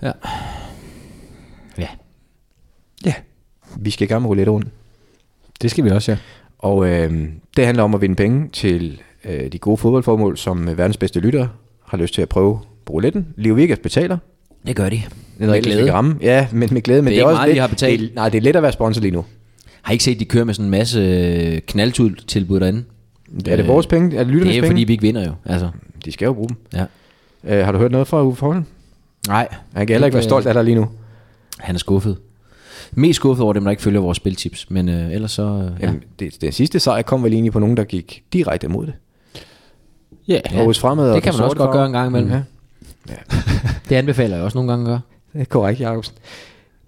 Speaker 3: Ja.
Speaker 2: Vi skal i gang med roulette
Speaker 4: Det skal vi også, ja.
Speaker 2: Og øh, det handler om at vinde penge til øh, de gode fodboldformål, som øh, verdens bedste lyttere har lyst til at prøve på rouletten. Leo Vegas betaler.
Speaker 3: Det gør de.
Speaker 2: Den med
Speaker 3: glæde.
Speaker 2: Ramme. Ja, men med glæde. Men
Speaker 3: Det er
Speaker 2: det er,
Speaker 3: ikke
Speaker 2: også
Speaker 3: meget,
Speaker 2: lidt,
Speaker 3: de har betalt.
Speaker 2: Det, er- nej, det er let at være sponsor lige nu.
Speaker 3: Har I ikke set, de kører med sådan en masse øh, knaldtilbud derinde? Øh,
Speaker 2: Er det vores penge? Er det lytternes
Speaker 3: Det er
Speaker 2: penge?
Speaker 3: fordi, vi ikke vinder jo. Altså.
Speaker 2: De skal jo bruge dem.
Speaker 3: Ja.
Speaker 2: Øh, har du hørt noget fra Uffe Holm?
Speaker 3: Nej.
Speaker 2: Han kan heller ikke være stolt af dig lige nu.
Speaker 3: Han er skuffet. Mest skuffet over dem, der ikke følger vores spiltips. Men øh, ellers så... Øh, ja.
Speaker 2: Jamen, det, den sidste sejr kom vel egentlig på nogen, der gik direkte imod det.
Speaker 4: Ja.
Speaker 2: Ja, Aarhus fremad og
Speaker 3: det kan
Speaker 2: den
Speaker 3: man også
Speaker 2: sorte
Speaker 3: godt
Speaker 2: farve.
Speaker 3: gøre en gang imellem.
Speaker 2: Ja,
Speaker 3: Det anbefaler jeg også nogle gange at gøre.
Speaker 2: det er korrekt, Jacobsen.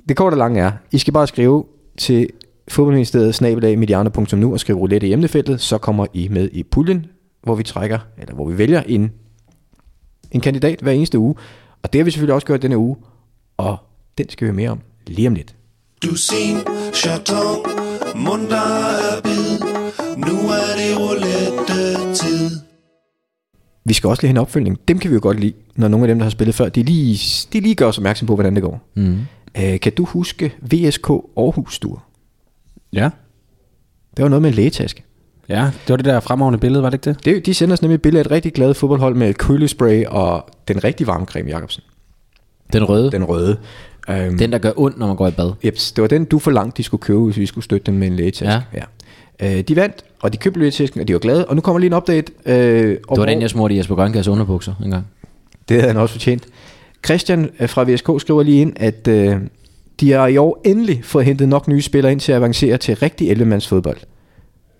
Speaker 2: Det korte og lange er, I skal bare skrive til fodboldministeriet snabelagmediano.nu og skrive roulette i emnefeltet, så kommer I med i puljen, hvor vi trækker, eller hvor vi vælger en, en kandidat hver eneste uge. Og det har vi selvfølgelig også gjort denne uge, og den skal vi høre mere om lige om lidt.
Speaker 7: Dusin, chaton, munter er bid. Nu er det roulette-tid.
Speaker 2: Vi skal også lige have en opfølgning. Dem kan vi jo godt lide, når nogle af dem, der har spillet før, de lige, de lige gør os opmærksom på, hvordan det går.
Speaker 3: Mm.
Speaker 2: Øh, kan du huske VSK Aarhus Stur?
Speaker 4: Ja.
Speaker 2: Det var noget med en lægetaske.
Speaker 4: Ja, det var det der fremragende billede, var det ikke det?
Speaker 2: Det, de sender os nemlig et billede af et rigtig glad fodboldhold med kølespray og den rigtig varme creme, Jacobsen.
Speaker 3: Den røde. Den.
Speaker 2: Den røde. Øhm,
Speaker 3: den, der gør ondt, når man går i bad.
Speaker 2: Jeps, det var den, du forlangte, de skulle købe, hvis vi skulle støtte dem med en lægetaske. Ja. ja. Øh, de vandt, og de købte lægetasken, og de var glade. Og nu kommer lige en update. Øh, det
Speaker 3: Det var den, jeg smurte i Jesper Grønkærs underbukser en gang.
Speaker 2: Det havde han også fortjent. Christian øh, fra VSK skriver lige ind, at øh, de har i år endelig fået hentet nok nye spillere ind til at avancere til rigtig 11-mands fodbold.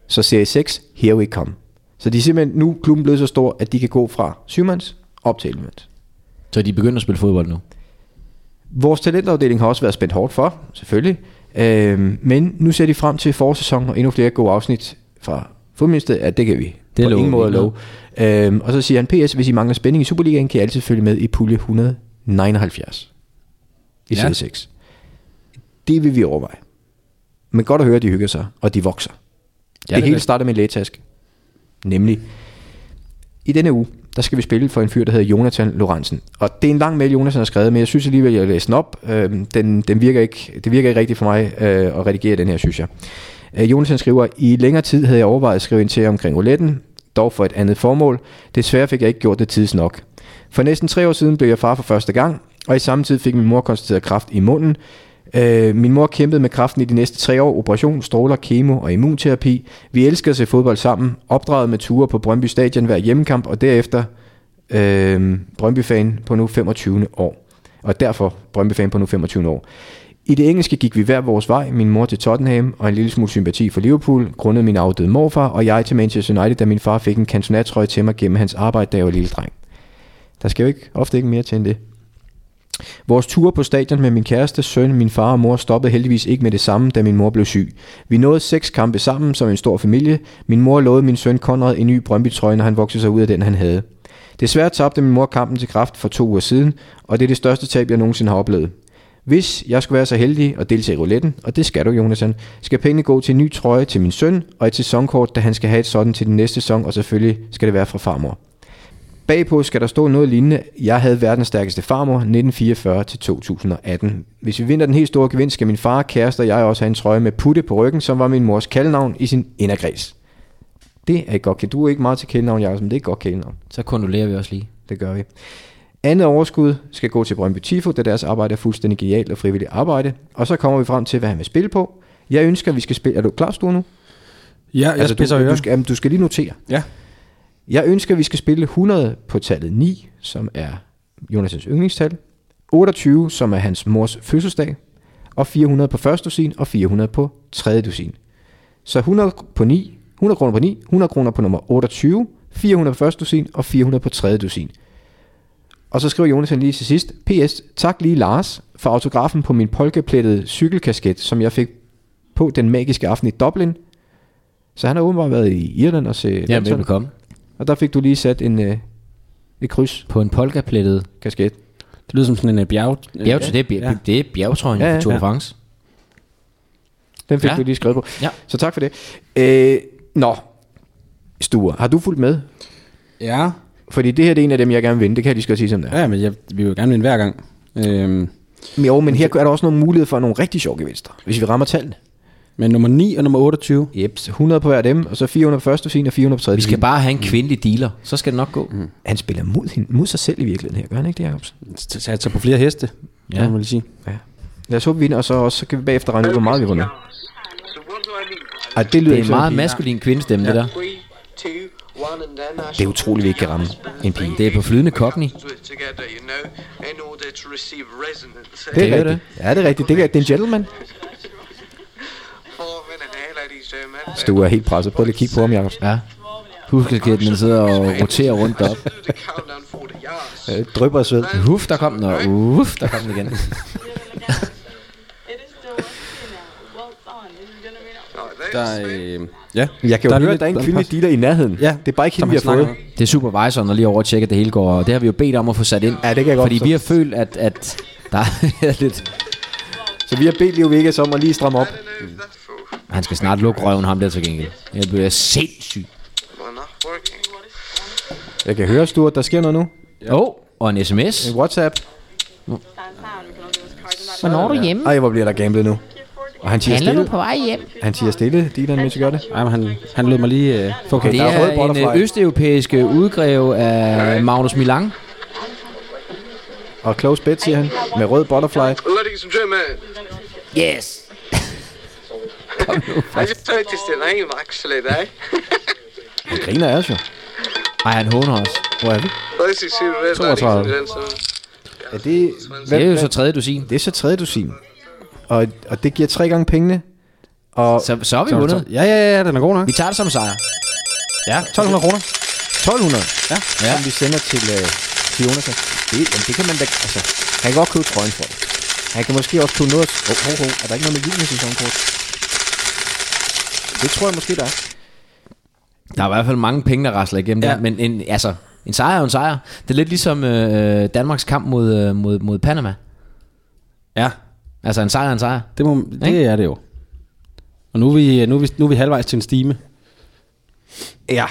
Speaker 2: Så serie 6, here we come. Så de er simpelthen nu klubben blevet så stor, at de kan gå fra 7-mands op til 11-mands.
Speaker 3: Så de begynder at spille fodbold nu.
Speaker 2: Vores talentafdeling har også været spændt hårdt for, selvfølgelig. Øhm, men nu ser de frem til forårssæsonen og endnu flere gode afsnit fra Fodministeriet, at det kan vi.
Speaker 3: Det
Speaker 2: på
Speaker 3: lover
Speaker 2: ingen
Speaker 3: vi
Speaker 2: måde
Speaker 3: ikke
Speaker 2: love. Øhm, og så siger han, PS, hvis I mangler spænding i Superligaen, kan I altid følge med i pulje 179 i
Speaker 4: Ja.
Speaker 2: ja. 6. Det vil vi overveje. Men godt at høre, at de hygger sig, og de vokser. Ja, det,
Speaker 4: det
Speaker 2: det hele
Speaker 4: vil.
Speaker 2: starter med en lægetask. Nemlig, i denne uge, der skal vi spille for en fyr, der hedder Jonathan Lorentzen. Og det er en lang mail, Jonathan har skrevet, men jeg synes alligevel, jeg læser den op. Øhm, den, den virker ikke, det virker ikke rigtigt for mig øh, at redigere den her, synes jeg. Øh, Jonathan skriver, i længere tid havde jeg overvejet at skrive ind til jer omkring rouletten, dog for et andet formål. Desværre fik jeg ikke gjort det tids nok. For næsten tre år siden blev jeg far for første gang, og i samme tid fik min mor konstateret kræft i munden. Øh, min mor kæmpede med kræften i de næste tre år. Operation, stråler, kemo og immunterapi. Vi elsker at se fodbold sammen. Opdraget med ture på Brøndby Stadion hver hjemmekamp, og derefter øh, Brøndby-fan på nu 25. år. Og derfor Brøndby-fan på nu 25. år. I det engelske gik vi hver vores vej, min mor til Tottenham og en lille smule sympati for Liverpool, grundet min afdøde morfar, og jeg til Manchester United, da min far fik en kantonatrøje til mig gennem hans arbejde, da jeg var lille dreng. Der skal jo ikke, ofte ikke mere til end det. Vores tur på stadion med min kæreste, søn, min far og mor stoppede heldigvis ikke med det samme, da min mor blev syg. Vi nåede seks kampe sammen som en stor familie. Min mor lovede min søn Konrad en ny Brøndby-trøje, når han voksede sig ud af den, han havde. Desværre tabte min mor kampen til kraft for to uger siden, og det er det største tab, jeg nogensinde har oplevet. Hvis jeg skulle være så heldig at deltage i rouletten, og det skal du, Jonathan, skal pengene gå til en ny trøje til min søn og et sæsonkort, da han skal have et sådan til den næste sæson, og selvfølgelig skal det være fra farmor. Bagpå skal der stå noget lignende. Jeg havde verdens stærkeste farmor 1944 til 2018. Hvis vi vinder den helt store gevinst, skal min far, kæreste og jeg også have en trøje med putte på ryggen, som var min mors kaldnavn i sin inderkreds. Det er et godt kæld. Du er ikke meget til kælenavn, Jacob, men det er et godt kælenavn.
Speaker 3: Så kondolerer vi også lige.
Speaker 2: Det gør vi. Andet overskud skal gå til Brøndby Tifo, da deres arbejde er fuldstændig genialt og frivilligt arbejde. Og så kommer vi frem til, hvad han vil spille på. Jeg ønsker, at vi skal spille... Er du klar, Stue, nu?
Speaker 4: Ja, jeg altså, spidser
Speaker 2: du,
Speaker 4: ører.
Speaker 2: du, skal, jamen, du skal lige notere.
Speaker 4: Ja.
Speaker 2: Jeg ønsker, at vi skal spille 100 på tallet 9, som er Jonas' yndlingstal, 28, som er hans mors fødselsdag, og 400 på første dusin og 400 på tredje dusin. Så 100 på 9, 100 kroner på 9, 100 kroner på nummer 28, 400 på første dusin og 400 på tredje dusin. Og så skriver Jonas lige til sidst, PS, tak lige Lars for autografen på min polkaplettede cykelkasket, som jeg fik på den magiske aften i Dublin. Så han har åbenbart været i Irland og se
Speaker 3: Ja,
Speaker 2: landsholdet.
Speaker 3: velbekomme.
Speaker 2: Og der fik du lige sat en, øh, et kryds
Speaker 3: På en polkaplettet
Speaker 2: kasket.
Speaker 4: Det lyder som sådan en øh, bjerg... øh,
Speaker 3: bjerg, det, er bjerg,
Speaker 4: Ja.
Speaker 3: det er bjergetrøjen
Speaker 2: Ja,
Speaker 3: ja,
Speaker 2: ja,
Speaker 3: ja, Tour de
Speaker 4: ja.
Speaker 3: France.
Speaker 2: Den fik
Speaker 3: Ja.
Speaker 2: ja. du lige skrevet på.
Speaker 3: Ja.
Speaker 2: Så tak for det. Øh, nå, Sture, har du fulgt med?
Speaker 4: Ja.
Speaker 2: Fordi det her det er en af dem, jeg gerne vil vinde. Det kan jeg lige skal sige som det er.
Speaker 4: Ja, men jeg, vi vil jo gerne vinde hver gang. Øhm,
Speaker 2: Men Jo, men her er der også nogle muligheder for nogle rigtig sjove gevinster, hvis vi rammer tallene.
Speaker 4: men nummer 9 og nummer 28.
Speaker 2: Jeps, 100 på hver af dem, og så 400 på første scene og 400 på tredje
Speaker 3: Vi skal
Speaker 2: scene.
Speaker 3: bare have en kvindelig dealer, så skal det nok gå. Mm.
Speaker 2: Han spiller mod, hende, mod sig selv i virkeligheden her, gør han ikke det, Jacobsen?
Speaker 4: Så satser altså på flere heste, ja.
Speaker 3: Ja.
Speaker 4: kan man lige sige.
Speaker 2: Ja. Lad os håbe, vi vinder, og så, også, så kan vi bagefter regne ud, hvor meget vi runder. Ej, det lyder
Speaker 3: Det er
Speaker 2: ikke
Speaker 3: en
Speaker 2: som
Speaker 3: meget
Speaker 2: pige.
Speaker 3: maskulin kvindestemme, ja. det der.
Speaker 2: Det er utroligt, vi ikke kan ramme en pige.
Speaker 3: Det er på flydende kogni.
Speaker 2: Det er
Speaker 3: Det er
Speaker 2: rigtigt. Ja, det er rigtigt. Det er, det er en gentleman. Du er helt presset. Prøv lige at kigge på ham, Jacob.
Speaker 3: Ja. Huskasketten, den sidder og roterer rundt op.
Speaker 2: Øh, drypper af sved.
Speaker 3: Uff, der kom den, og uff, der kom den igen.
Speaker 4: Der, øh, ja.
Speaker 2: Jeg kan jo
Speaker 4: Der
Speaker 2: høre,
Speaker 4: er lige
Speaker 2: at der er en
Speaker 4: lidt
Speaker 2: kvindelig dealer i nærheden.
Speaker 4: Ja,
Speaker 2: Det er bare ikke hende,
Speaker 4: som
Speaker 2: vi har
Speaker 4: han snakker
Speaker 2: fået.
Speaker 4: om.
Speaker 3: Det er supervisoren, der lige over tjekker, at det hele går, og det har vi jo bedt om at få sat ind.
Speaker 2: Ja, det kan jeg godt
Speaker 3: Fordi
Speaker 2: forstå.
Speaker 3: vi har følt, at, at der er lidt...
Speaker 2: Så vi har bedt Leo Vegas om at lige stramme op.
Speaker 3: Han skal snart lukke røven ham der til gengæld. Jeg bliver sindssyg.
Speaker 2: Jeg kan høre, Stuart, der sker noget nu.
Speaker 3: Åh, oh, og en sms.
Speaker 2: En WhatsApp.
Speaker 3: Hvornår er du hjemme?
Speaker 2: Ej, hvor bliver der gamblet nu. Og han siger stille.
Speaker 3: vej hjem?
Speaker 2: Han siger stille, dealeren, mens vi gør det.
Speaker 4: Ej, men han, han lød mig lige... Øh, få
Speaker 2: Okay,
Speaker 3: Det
Speaker 2: der er rød
Speaker 3: er en
Speaker 2: butterfly.
Speaker 3: øh, østeuropæisk øh, udgreve af Magnus Milang.
Speaker 2: Og close bet, siger han. Med rød butterfly.
Speaker 10: Ladies and gentlemen,
Speaker 3: Yes!
Speaker 10: I just noticed the name actually there.
Speaker 2: Han griner af os jo.
Speaker 3: Ej, han håner os.
Speaker 2: Hvor er vi?
Speaker 10: This is your red, ladies and gentlemen.
Speaker 2: Er det...
Speaker 3: Det er jo så tredje dusin.
Speaker 2: Det er så tredje dusin. Og, og det giver tre gange pengene. Og
Speaker 3: Så, så har vi vundet.
Speaker 4: Ja, ja, ja, den er god nok.
Speaker 3: Vi tager det som sejr.
Speaker 4: Ja, 1200 kroner.
Speaker 2: 1200, ja.
Speaker 3: Ja.
Speaker 2: som vi sender til, øh, til Jonas. Det, jamen, det kan man da... Altså, han kan godt købe trøjen for det. Han kan måske også købe noget... Åh, oh, oh, oh, er der ikke noget med julen i sæsonkort? Det tror jeg måske, der er.
Speaker 3: Der er i hvert fald mange penge, der rasler igennem ja. der, men en, altså, en sejr er jo en sejr. Det er lidt ligesom øh, Danmarks kamp mod, øh, mod, mod Panama.
Speaker 4: Ja.
Speaker 3: Altså en sejr er en sejr.
Speaker 4: Det, må, det er det jo. Og nu er, vi, øh, nu, er vi, nu er vi halvvejs til en stime.
Speaker 2: Ja.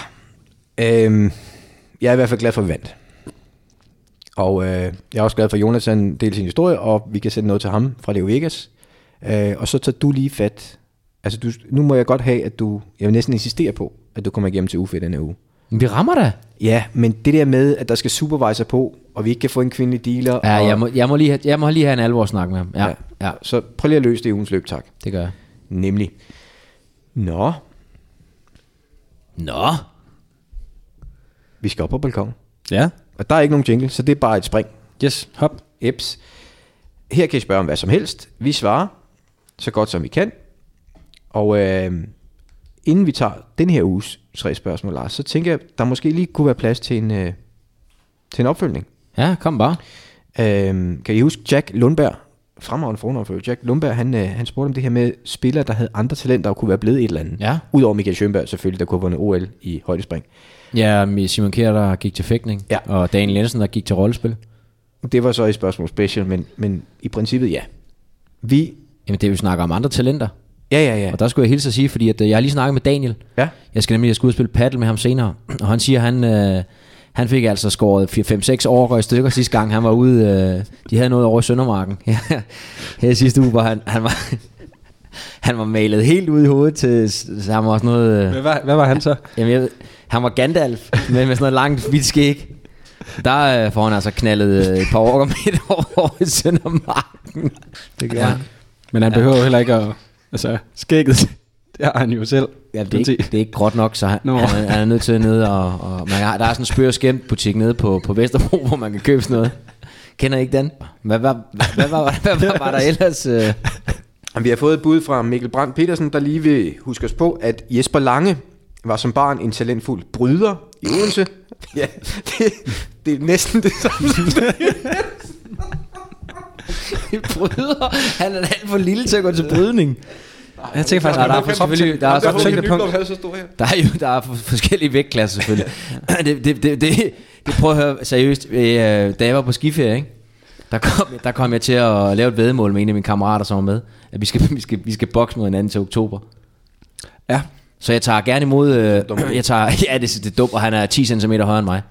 Speaker 2: Øhm, jeg er i hvert fald glad for, at vi vandt. Og øh, jeg er også glad for, at Jonathan delte sin historie, og vi kan sende noget til ham fra Leo Vegas. Øh, og så tager du lige fat. Altså, du, nu må jeg godt have, at du... Jeg vil næsten insistere på, at du kommer igennem til UFE denne uge.
Speaker 3: Men vi rammer da.
Speaker 2: Ja, men det der med, at der skal supervisor på, og vi ikke kan få en kvindelig dealer...
Speaker 3: Ja,
Speaker 2: og,
Speaker 3: jeg må, jeg må, lige, have, jeg må lige have en alvor snak med ham. Ja, ja. ja,
Speaker 2: Så prøv lige at løse det i ugens løb, tak.
Speaker 3: det gør jeg.
Speaker 2: Nemlig. Nå,
Speaker 3: Nå.
Speaker 2: vi skal op på balkongen.
Speaker 4: Ja.
Speaker 2: Og der er ikke nogen jingle, så det er bare et spring.
Speaker 4: Yes, hop.
Speaker 2: Eps. Her kan I spørge om hvad som helst. Vi svarer så godt som vi kan. Og øh, inden vi tager den her uges tre spørgsmål, Lars, så tænker jeg, der måske lige kunne være plads til en, øh, til en opfølgning.
Speaker 3: Ja, kom bare.
Speaker 2: Øh, kan I huske Jack Lundberg? Fremragende forunderfører. Jack Lundberg, han, øh, han spurgte om det her med spillere, der havde andre talenter og kunne være blevet et eller andet.
Speaker 3: Ja.
Speaker 2: Udover Michael Schønberg selvfølgelig, der kunne have vundet OL i højdespring.
Speaker 3: Ja, med Simon Kjær, der gik til fægtning.
Speaker 2: Ja.
Speaker 3: Og Daniel Jensen, der gik til rollespil.
Speaker 2: Det var så et spørgsmål special, men, men i princippet ja. Vi...
Speaker 3: Jamen, det er jo snakker om andre talenter.
Speaker 2: Ja, ja, ja.
Speaker 3: Og der skulle jeg hilse at sige, fordi at, øh, jeg har lige snakket med Daniel.
Speaker 2: Ja.
Speaker 3: Jeg skal nemlig jeg skal ud og spille paddle med ham senere. Og han siger, han, øh, han fik altså skåret 5-6 år i stykker sidste gang. Han var ude, øh, de havde noget over i Søndermarken. Ja, Her i sidste uge var han, han var, han var malet helt ud i hovedet til, så han var sådan noget...
Speaker 4: Hvad,
Speaker 3: Øh,
Speaker 4: var- hvad var han så?
Speaker 3: jamen, jeg, ved- han var Gandalf, men med sådan noget langt, hvidt skæg. Der øh, får han altså knaldet øh, et par år midt over i Søndermarken. Det gør ja. han.
Speaker 4: Men han behøver jo heller ikke at... Altså, skægget, det har han jo selv.
Speaker 3: Ja, det, er ikke, det er ikke gråt nok, så han,
Speaker 4: Nå.
Speaker 3: han, er- han er nødt til at ned og... og man har, der er sådan en spør skæmt butik nede på, på Vesterbro, hvor man kan købe sådan noget. Kender I ikke den? Hvad, hvad, hvad, hvad, hvad, hvad, hvad var der ellers? Øh?
Speaker 2: Vi har fået et bud fra Mikkel Brandt Petersen, der lige vil huske os på, at Jesper Lange var som barn en talentfuld bryder i Odense. ja, det, det er næsten det samme.
Speaker 3: Bryder? Han er alt for lille til at gå til Altså brydning.
Speaker 4: Jeg
Speaker 3: faktisk,
Speaker 4: tænker faktisk,
Speaker 3: Nej,
Speaker 4: at
Speaker 3: der er
Speaker 4: der
Speaker 3: for- selvfølgelig- der
Speaker 4: der
Speaker 3: er
Speaker 4: er
Speaker 3: for-
Speaker 4: tyngdepunkt.
Speaker 3: Der er jo der er for- forskellige vægtklasser selvfølgelig. det, det, det, det, det prøver at høre seriøst. Øh, da jeg var på skiferie, ikke? Der kom, der kom jeg til at lave et vedmål med en af mine kammerater, som var med, at vi skal, vi skal, vi skal bokse mod hinanden til oktober.
Speaker 4: Ja,
Speaker 3: Så jeg tager gerne imod... Øh, jeg tager, ja, det, det er dumt, og han er 10 cm højere end mig.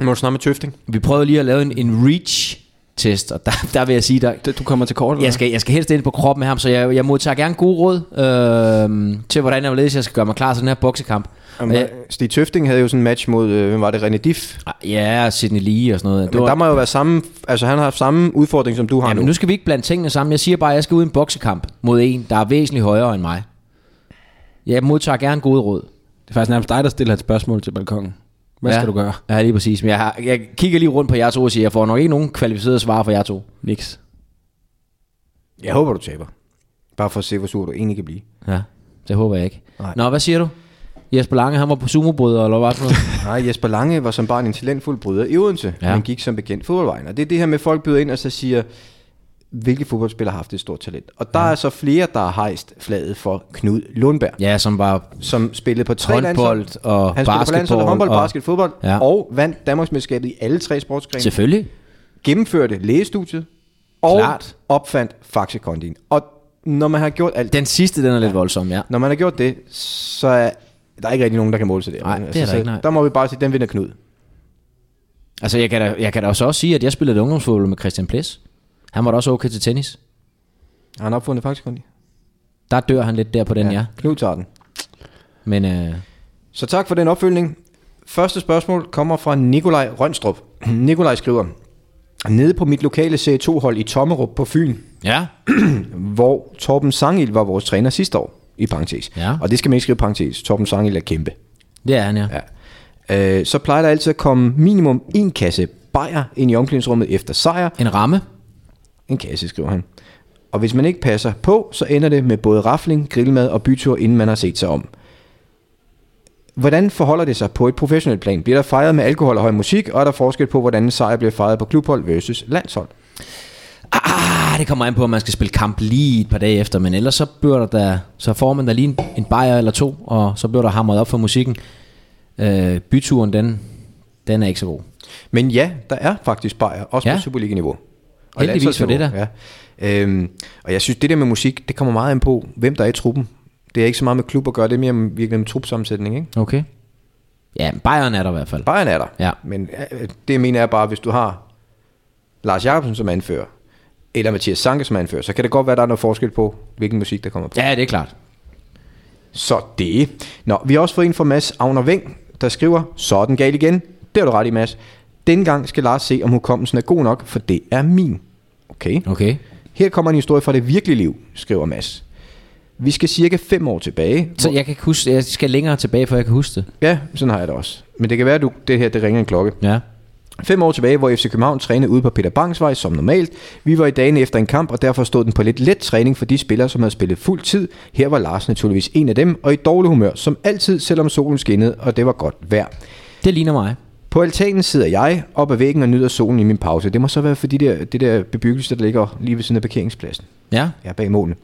Speaker 2: Må du snakke med Tøfting?
Speaker 3: Vi prøvede lige at lave en, en reach-test, og der, der vil jeg sige, der,
Speaker 4: det- du kommer til kort, eller
Speaker 3: jeg skal, jeg skal helst ind på kroppen med ham, så jeg, jeg modtager gerne gode råd øh, til, hvordan jeg, ledes, jeg skal gøre mig klar til den her boksekamp. Og jeg,
Speaker 2: Stig Tøfting havde jo sådan en match mod, øh, hvem var det, René Diff?
Speaker 3: ja, og Sidney Lee og sådan noget.
Speaker 2: Men der må jo være samme, altså han har haft samme udfordring, som du har
Speaker 3: Jamen,
Speaker 2: nu.
Speaker 3: nu skal vi ikke blande tingene sammen. Jeg siger bare, at jeg skal ud i en boksekamp mod en, der er væsentligt højere end mig. Jeg modtager gerne gode råd.
Speaker 4: Det er faktisk nærmest dig, der stiller et spørgsmål til balkongen. Hvad
Speaker 3: ja.
Speaker 4: skal du gøre?
Speaker 3: Ja, lige præcis. Men jeg, har, jeg kigger lige rundt på jer to og siger, jeg får nok ikke nogen kvalificerede svar fra jer to.
Speaker 4: Niks.
Speaker 2: Jeg håber, du taber. Bare for at se, hvor sur du egentlig kan blive.
Speaker 3: Ja, det håber jeg ikke.
Speaker 2: Nej.
Speaker 3: Nå, hvad siger du? Jesper Lange, han var på sumobryder, eller hvad for noget?
Speaker 2: Nej, Jesper Lange var som barn en talentfuld bryder i Odense,
Speaker 3: Ja.
Speaker 2: ja. men gik som bekendt fodboldvejen. Og det er det her med, at folk byder ind og så siger, hvilke fodboldspillere har haft et stort talent. Og der ja. er så flere, der har hejst flaget for Knud Lundberg, ja.
Speaker 3: ja, som var
Speaker 2: som spillede på tre
Speaker 3: Håndbold
Speaker 2: landshold.
Speaker 3: og
Speaker 2: Han spillede på landshold,
Speaker 3: basketball
Speaker 2: håndbold,
Speaker 3: og-
Speaker 2: basket, fodbold,
Speaker 3: Ja.
Speaker 2: ja. og vandt Danmarksmesterskabet i alle tre sportsgrene.
Speaker 3: selvfølgelig.
Speaker 2: Gennemførte lægestudiet, og
Speaker 3: Klart.
Speaker 2: Klart. opfandt faxekondien. Og når man har gjort alt
Speaker 3: Den sidste, den er lidt voldsom, ja.
Speaker 2: når man har gjort det, så er der er ikke rigtig nogen, der kan måle sig der. Altså,
Speaker 3: Nej, det er der
Speaker 2: så
Speaker 3: ikke, nej.
Speaker 2: Der må vi bare sige, den vinder Knud.
Speaker 3: Altså, jeg kan, da, jeg kan da også også sige, at jeg spillede ungdomsfodbold med Christian Ples. Han var da også okay til tennis.
Speaker 2: Har han opfundet faxekondi?
Speaker 3: Der dør han lidt der på den, ja. ja.
Speaker 2: Knud tager den.
Speaker 3: Men øh,
Speaker 2: Så tak for den opfølgning. Første spørgsmål kommer fra Nikolaj Rønstrup. Nikolaj skriver, Nede på mit lokale C2-hold i Tommerup på Fyn,
Speaker 3: ja,
Speaker 2: hvor Torben Sangil var vores træner sidste år, i parentes.
Speaker 3: Ja.
Speaker 2: Og det skal man ikke skrive i parentes. Torben Sangil er kæmpe.
Speaker 3: det er han, ja. ja.
Speaker 2: Ja. Øh, så plejer der altid at komme minimum en kasse bajer ind i omklædningsrummet efter sejr,
Speaker 3: En ramme.
Speaker 2: En kasse, skriver han. Og hvis man ikke passer på, så ender det med både rafling, grillmad og bytur, inden man har set sig om. Hvordan forholder det sig på et professionelt plan? Bliver der fejret med alkohol og høj musik, og er der forskel på, hvordan en sejr bliver fejret på klubhold versus landshold?
Speaker 3: Ah, Ah, det kommer an på, om man skal spille kamp lige et par dage efter, men ellers så, bliver der, da- så får man da lige en, en bajer eller to, og så bliver der hamret op for musikken. Øh, byturen, den, den er ikke så god.
Speaker 2: Men ja, der er faktisk bajer, også ja.
Speaker 3: Ja.
Speaker 2: på Superliga-niveau. Og
Speaker 3: Heldigvis for det
Speaker 2: landsholdsniveau, Ja. Øhm, og jeg synes, det der med musik, det kommer meget an på, hvem der er i truppen. Det er ikke så meget med klub at gøre, det er mere med- virkelig med trupsammensætning, ikke?
Speaker 3: Okay. Ja, Bayern er der i hvert fald.
Speaker 2: Bayern er der.
Speaker 3: Ja.
Speaker 2: Men øh, det mener jeg bare, hvis du har Lars Jacobsen som anfører, eller Mathias Sanke som anfører, så kan det godt være, der er noget forskel på, hvilken musik der kommer på.
Speaker 3: Ja, det er klart.
Speaker 2: Så det. Nå, vi har også fået en fra Mads Agner Veng, der skriver, så er den gal igen. Det har du ret i, Mads. Dengang skal Lars se, om hukommelsen er god nok, for det er min. Okay.
Speaker 3: Okay.
Speaker 2: Her kommer en historie fra det virkelige liv, skriver Mads. Vi skal cirka 5 år tilbage.
Speaker 3: Så jeg kan ikke huske, jeg skal længere tilbage, for jeg kan huske det.
Speaker 2: Ja, sådan har jeg det også. Men det kan være, at du, det her det ringer en klokke.
Speaker 3: Ja.
Speaker 2: Fem år tilbage, hvor FC København trænede ude på Peter Bangsvej som normalt. Vi var i dagene efter en kamp, og derfor stod den på lidt let træning for de spillere, som havde spillet fuld tid. Her var Lars naturligvis en af dem, og i dårlig humør, som altid, selvom solen skinnede, og det var godt vejr.
Speaker 3: Det ligner mig.
Speaker 2: På altanen sidder jeg op ad væggen og nyder solen i min pause. Det må så være for de der, det der bebyggelse, der ligger lige ved siden af parkeringspladsen.
Speaker 3: Ja.
Speaker 2: Jeg er bag målene.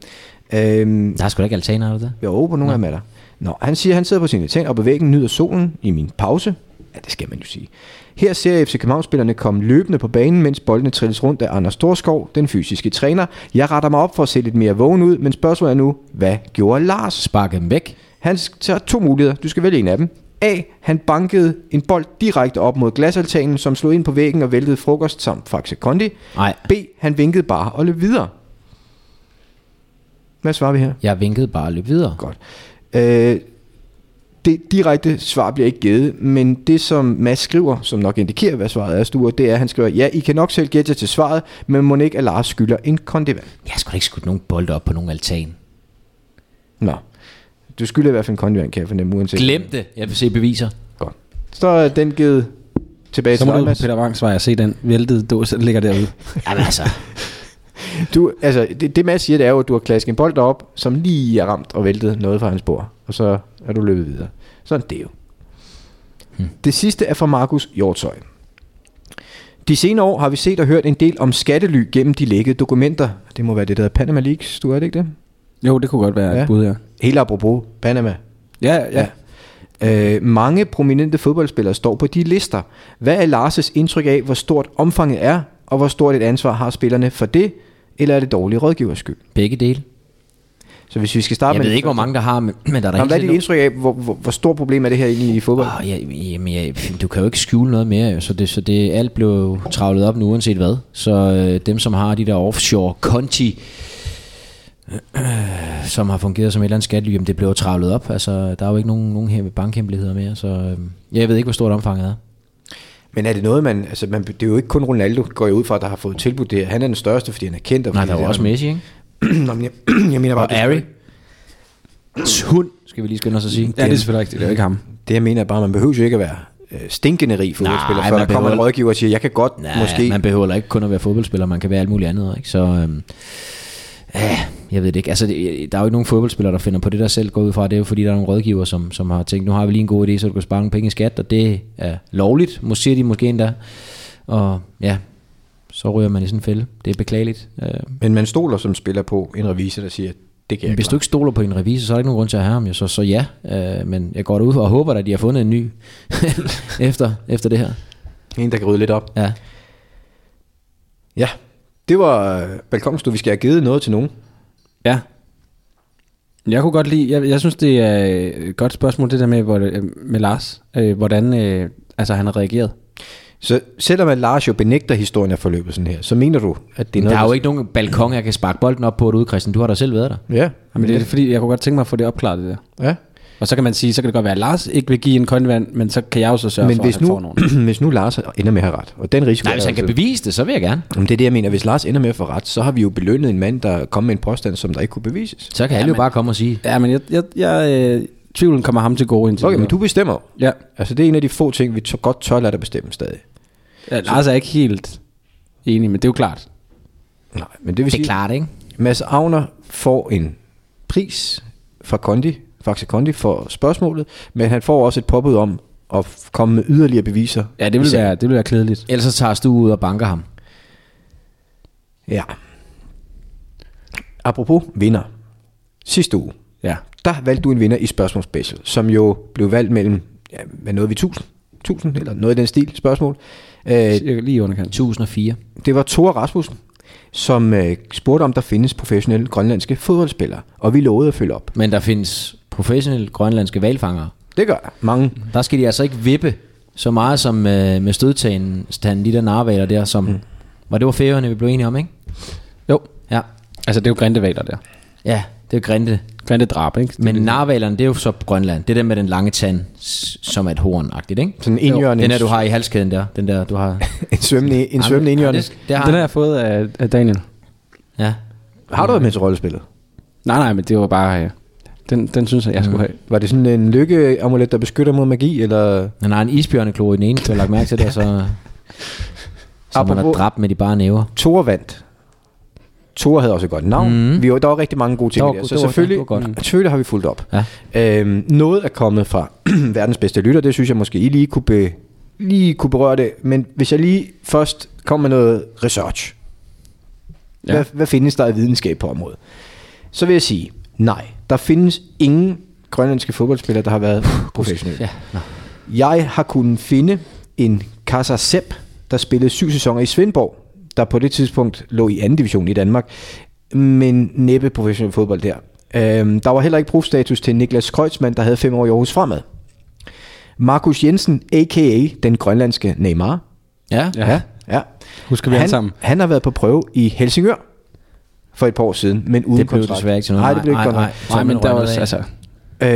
Speaker 2: Øhm,
Speaker 3: Der er sgu da ikke altaner, er der det?
Speaker 2: jo, på nogle af dem er der. Nå, han siger, han sidder på sin altan og på væggen nyder solen i min pause. Ja, det skal man jo sige. Her ser jeg FC København-spillerne komme løbende på banen, mens boldene trilles rundt af Anders Storskov, den fysiske træner. Jeg retter mig op for at se lidt mere vågen ud, men spørgsmålet er nu, hvad gjorde Lars?
Speaker 3: Sparke dem væk.
Speaker 2: Han s- tager to muligheder. Du skal vælge en af dem. A. Han bankede en bold direkte op mod glasaltanen, som slog ind på væggen og væltede frokost samt Faxe Kondi.
Speaker 3: Nej.
Speaker 2: B. Han vinkede bare og løb videre. Hvad svarer vi her?
Speaker 3: Jeg vinkede bare og løb videre.
Speaker 2: Godt. Øh, det direkte svar bliver ikke givet, men det som Mads skriver, som nok indikerer, hvad svaret er, Sture, det er, at han skriver, ja, I kan nok selv gætte jer til svaret, men må ikke, at Lars skylder en kondivand.
Speaker 3: Jeg har sgu da ikke skudt nogen bolde op på nogen altan.
Speaker 2: Nå, du skylder i hvert fald en kondivand, kan jeg fornemme, uanset.
Speaker 3: Glem det. Jeg vil se beviser.
Speaker 2: Godt. Så er den givet tilbage
Speaker 4: Så
Speaker 2: til
Speaker 4: må
Speaker 2: dig,
Speaker 4: du på
Speaker 2: Mads.
Speaker 4: Peter Vangsvej og se den væltede dåse, der ligger derude.
Speaker 3: Jamen altså.
Speaker 2: Du, altså, det, det Mads siger, det er jo, at du har klasket en bold op, som lige er ramt og væltet noget fra hans bord, og så er du løbet videre. Sådan det er jo. Hmm. Det sidste er fra Markus Hjortøj. De senere år har vi set og hørt en del om skattely gennem de lækkede dokumenter. Det må være det, der hedder Panama Leaks, du er det ikke det?
Speaker 4: Jo, det kunne godt være
Speaker 2: Ja.
Speaker 4: et bud, ja.
Speaker 2: Helt apropos Panama.
Speaker 4: Ja, ja.
Speaker 2: Øh, mange prominente fodboldspillere står på de lister. Hvad er Lars' indtryk af, hvor stort omfanget er, og hvor stort et ansvar har spillerne for det, eller er det dårlige rådgivers skyld?
Speaker 3: Begge dele.
Speaker 2: Så hvis vi skal starte
Speaker 3: Jeg
Speaker 2: med
Speaker 3: ved
Speaker 2: den
Speaker 3: ikke, hvor
Speaker 2: første-
Speaker 3: mange der har, men, men der er der
Speaker 2: Nå, hvad er
Speaker 3: helt
Speaker 2: dit indtryk af, hvor, hvor, hvor stort problem er det her egentlig i fodbold?
Speaker 3: Oh, ja, jamen, ja, du kan jo ikke skjule noget mere, jo, så, det, så det, alt blev jo travlet op nu, uanset hvad. Så øh, dem, som har de der offshore konti, øh, som har fungeret som et eller andet skattely, jamen, det blev jo travlet op. Altså, der er jo ikke nogen, nogen her bankhemmeligheder mere, så øh, jeg ved ikke, hvor stort omfanget er.
Speaker 2: Men er det noget, man... Altså, man, det er jo ikke kun Ronaldo, går jeg ud fra, der har fået tilbudt det her. Han er den største, fordi han er kendt. Og
Speaker 3: Nej,
Speaker 2: fordi
Speaker 3: der er jo
Speaker 2: det
Speaker 3: også Messi, ikke?
Speaker 2: Nå, men jeg, jeg mener bare...
Speaker 3: Og Ari. Hund, skal vi lige skynde os at sige.
Speaker 4: Ja, det er selvfølgelig rigtigt. Det er jo ikke ham.
Speaker 2: Det, jeg mener er bare, man behøver jo ikke at være øh, stinkende rig fodboldspiller,
Speaker 3: Nej,
Speaker 2: før
Speaker 3: man
Speaker 2: der kommer en
Speaker 3: behøver-
Speaker 2: rådgiver og siger, jeg kan godt
Speaker 3: Nej,
Speaker 2: måske...
Speaker 3: man behøver ikke kun at være fodboldspiller, man kan være alt muligt andet, ikke? Så øhm, ja, jeg ved det ikke. Altså, det, der er jo ikke nogen fodboldspillere, der finder på det der selv går ud fra. Det er jo fordi, der er nogle rådgiver, som, som har tænkt, nu har vi lige en god idé, så du kan spare nogle penge i skat, og det er lovligt, måske de måske endda. Og ja, så ryger man i sådan en fælde. Det er beklageligt. Øh,
Speaker 2: Men man stoler som spiller på en revisor, der siger, det kan jeg
Speaker 3: hvis du
Speaker 2: ikke.
Speaker 3: ikke stoler på en revisor, så er der ikke nogen grund til at have ham, jo, så, så ja. Øh, men jeg går derud og håber, at de har fundet en ny efter, efter det her.
Speaker 2: En, der kan rydde lidt op.
Speaker 3: Ja.
Speaker 2: Ja, det var øh, balkonstue. Vi skal have givet noget til nogen.
Speaker 4: Ja. Jeg kunne godt lide, jeg, jeg synes det er øh, et godt spørgsmål, det der med, hvor, øh, med Lars. Øh, hvordan øh, altså, han har reageret.
Speaker 2: Så selvom at Lars jo benægter historien af forløbet sådan her, så mener du, at det er
Speaker 3: Men
Speaker 2: noget...
Speaker 3: der er jo ikke nogen balkon, jeg kan sparke bolden op på derude, Christian. Du har da selv været der.
Speaker 2: Ja,
Speaker 4: Jamen, det er fordi, jeg kunne godt tænke mig at få det opklaret, det der.
Speaker 2: ja.
Speaker 4: Og så kan man sige, så kan det godt være, at Lars ikke vil give en kondvand, men så kan jeg jo så sørge
Speaker 2: Men
Speaker 4: for,
Speaker 2: hvis
Speaker 4: at han
Speaker 2: nu,
Speaker 4: får nogen.
Speaker 2: hvis nu Lars ender med at have ret, og den risiko
Speaker 3: Nej, hvis
Speaker 2: er
Speaker 3: han kan
Speaker 2: altså-
Speaker 3: bevise det, så vil jeg gerne.
Speaker 2: Jamen, det er det, jeg mener. Hvis Lars ender med at få ret, så har vi jo belønnet en mand, der kom med en påstand, som der ikke kunne bevises.
Speaker 3: Så kan alle jo bare komme og sige,
Speaker 4: Ja, men jeg, jeg, jeg øh, tvivlen kommer ham til gode indtil
Speaker 2: Okay,
Speaker 4: videre.
Speaker 2: men du bestemmer.
Speaker 4: Ja,
Speaker 2: Altså, det er en af de få ting, vi to- godt tør lade dig bestemme stadig.
Speaker 4: ja Lars er ikke helt enig, men det er jo klart.
Speaker 2: Nej, men det vil
Speaker 3: det er
Speaker 2: sige,
Speaker 3: klart, ikke?
Speaker 2: Mads Agner får en pris fra Kondi, Faxe Kondi for spørgsmålet, men han får også et påbud om at f- komme med yderligere beviser.
Speaker 4: Ja, det vil,
Speaker 2: Især-
Speaker 4: være, det vil være klædeligt.
Speaker 3: Ellers så tager du ud og banker ham.
Speaker 2: Ja. Apropos vinder. Sidste uge,
Speaker 4: ja.
Speaker 2: der valgte du en vinder i spørgsmålsspecial, som jo blev valgt mellem, ja, hvad nåede vi, 1000? 1000 eller noget i den stil spørgsmål. Øh,
Speaker 4: Cirka lige i underkant.
Speaker 3: 1004.
Speaker 2: det var Thor Rasmussen, som øh, spurgte om der findes professionelle grønlandske fodboldspillere, og vi lovede at følge op.
Speaker 3: Men der findes professionelle grønlandske valfangere.
Speaker 2: Det gør jeg. mange.
Speaker 3: Der skal de altså ikke vippe så meget som øh, med stødtagen, standen, de der narvaler der, som... Mm. Var det var færøerne, vi blev enige om, ikke?
Speaker 4: Jo.
Speaker 3: Ja.
Speaker 4: Altså, det er jo grindevaler der.
Speaker 3: Ja, det er grinte.
Speaker 4: Grindedrab, ikke?
Speaker 3: Men narvalerne, det er jo så på Grønland. Det er den med den lange tand, s- som er et horn-agtigt, ikke?
Speaker 2: Sådan en indjørning.
Speaker 3: Den der, du har i halskæden der. Den der, du har...
Speaker 2: En svømmende, en svømmende indjørning.
Speaker 3: Det, det har
Speaker 4: Den har jeg fået af, af Daniel.
Speaker 3: Ja.
Speaker 2: Har du været med til rollespillet?
Speaker 4: Nej, nej, men det var bare... Øh, den, den synes jeg, jeg
Speaker 3: Mm.
Speaker 4: skulle have.
Speaker 2: Var det sådan en lykkeamulet, der beskytter mod magi, eller...
Speaker 3: Han har en isbjørneklo i den ene, du har lagt mærke til det, og så... Som han har
Speaker 2: Apropos-
Speaker 3: dræbt med de bare næver.
Speaker 2: Thor vandt. Thor havde også et godt navn. Mm. Vi var, der var rigtig mange gode ting
Speaker 3: Der
Speaker 2: der, der.
Speaker 3: var go-
Speaker 2: så
Speaker 3: det var-
Speaker 2: selvfølgelig,
Speaker 3: det var godt.
Speaker 2: selvfølgelig har vi fulgt op.
Speaker 3: Ja.
Speaker 2: Øhm, noget er kommet fra verdens bedste lytter, det synes jeg måske, I lige kunne, be, lige kunne berøre det. Men hvis jeg lige først kommer med noget research. Ja. Hvad, hvad findes der af videnskab på området? Så vil jeg sige, nej, der findes ingen grønlandske fodboldspillere, der har været professionelle.
Speaker 3: Ja. Nå.
Speaker 2: Jeg har kunnet finde en Kasa Sepp, der spillede syv sæsoner i Svendborg, der på det tidspunkt lå i anden division i Danmark, men næppe professionel fodbold der. Øhm, der var heller ikke profstatus til Niklas Kreutzmann, der havde fem år i Aarhus Fremad. Markus Jensen, a.k.a. den grønlandske Neymar.
Speaker 3: Ja.
Speaker 4: Ja. ja.
Speaker 2: Ja.
Speaker 4: Husker vi alle
Speaker 2: han,
Speaker 4: sammen.
Speaker 2: han har været på prøve i Helsingør for et par år siden, men uden
Speaker 3: Det blev
Speaker 2: kontrakt.
Speaker 3: desværre ikke til noget.
Speaker 2: Nej, det blev ikke godt nok.
Speaker 3: Så
Speaker 4: Nej,
Speaker 3: er
Speaker 4: men
Speaker 3: man
Speaker 4: der var
Speaker 3: røget af.
Speaker 4: også, altså...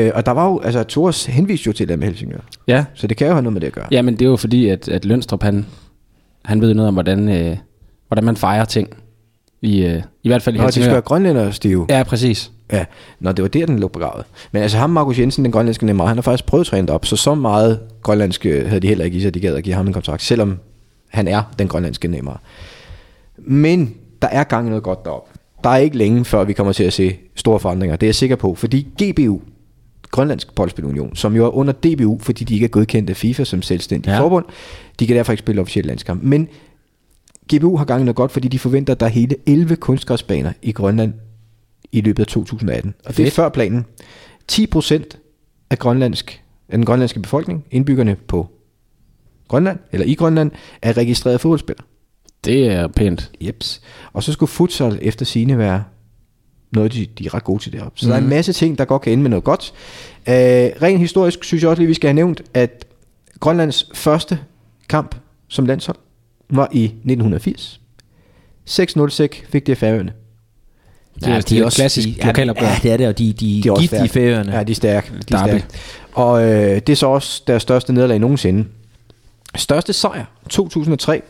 Speaker 2: Øh, og der var jo, altså Thors henviste jo til det med Helsingør,
Speaker 4: Ja.
Speaker 2: så det kan jo have noget med det at gøre.
Speaker 4: Ja, men det er jo fordi, at, at Lønstrup, han, han ved noget om, hvordan, øh, hvordan man fejrer ting. I, øh, I hvert fald i
Speaker 2: Nå, de skal
Speaker 4: Helsingør.
Speaker 2: være grønlændere, Stive.
Speaker 4: Ja, præcis.
Speaker 2: Ja, nå, det var der, den lå begravet. Men altså ham, Markus Jensen, den grønlandske nemmer, han har faktisk prøvet at træne det op, så så meget grønlandske havde de heller ikke i sig, at de gad at give ham en kontrakt, selvom han er den grønlandske nemmer. Men der er gang i noget godt derop. Der er ikke længe, før vi kommer til at se store forandringer, det er jeg sikker på, fordi GBU, Grønlandsk Boldspil Union, som jo er under DBU, fordi de ikke er godkendt af FIFA som selvstændig
Speaker 3: Ja.
Speaker 2: ja. forbund, de kan derfor ikke spille officielle landskamp. Men GBU har gang i noget godt, fordi de forventer, at der er hele 11 kunstgræsbaner i Grønland i løbet af 2018. Og det er
Speaker 3: Fedt.
Speaker 2: før planen. 10% af, grønlandsk, af den grønlandske befolkning, indbyggerne på Grønland, eller i Grønland, er registreret fodboldspillere.
Speaker 4: Det er pænt.
Speaker 2: Jeps. Og så skulle futsal efter sine være noget, de, de er ret gode til deroppe. Så mm. der er en masse ting, der godt kan ende med noget godt. Øh, rent historisk synes jeg også lige, vi skal have nævnt, at Grønlands første kamp som landshold var i 1980. 6-0 sæk fik det af færøerne.
Speaker 4: Det er- det er et klassisk
Speaker 3: Altså, de,
Speaker 4: lokalopgør.
Speaker 3: Ja, det er det, og de, de,
Speaker 2: De er
Speaker 3: de
Speaker 2: også
Speaker 3: gift i
Speaker 2: stærke.
Speaker 3: færøerne.
Speaker 2: Ja, de er stærke. De er
Speaker 4: Derby.
Speaker 2: stærke. Og øh, det er så også deres største nederlag nogensinde. Største sejr, 2003,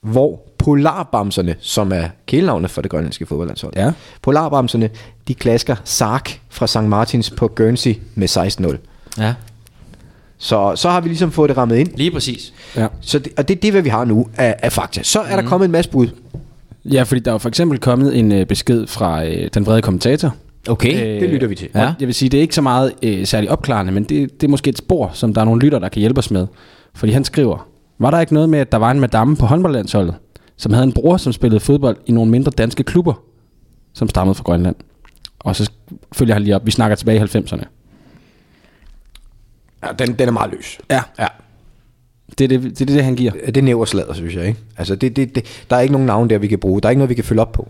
Speaker 2: hvor Polarbamserne, som er kælenavnet for det grønlandske fodboldlandshold,
Speaker 4: Ja.
Speaker 2: Polarbamserne, de klasker Sark fra St. Martins på Guernsey med 16-0.
Speaker 3: ja.
Speaker 2: Så, så har vi ligesom fået det rammet ind.
Speaker 3: Lige præcis.
Speaker 4: Ja.
Speaker 2: Så det, og det er det, hvad vi har nu af, af fakta. Så er der kommet en masse bud.
Speaker 4: ja, fordi der er jo for eksempel kommet en øh, besked fra øh, den vrede kommentator.
Speaker 3: Okay.
Speaker 2: Det lytter vi til.
Speaker 4: Øh, Ja.
Speaker 3: Ja.
Speaker 4: Og jeg vil sige, det er ikke så meget øh, særlig opklarende, men det, det er måske et spor, som der er nogle lytter, der kan hjælpe os med. Fordi han skriver, var der ikke noget med, at der var en madame på håndboldlandsholdet, som havde en bror, som spillede fodbold i nogle mindre danske klubber, som stammede fra Grønland? Og så følger han lige op, vi snakker tilbage i 90'erne.
Speaker 2: Ja, den, den er meget løs.
Speaker 4: Ja.
Speaker 2: Ja.
Speaker 4: Det er det, det, er det han giver.
Speaker 2: Øh, Det er næverslader, synes jeg. Ikke? Altså, det, det, det, der er ikke nogen navn der, vi kan bruge. Der er ikke noget, vi kan følge op på.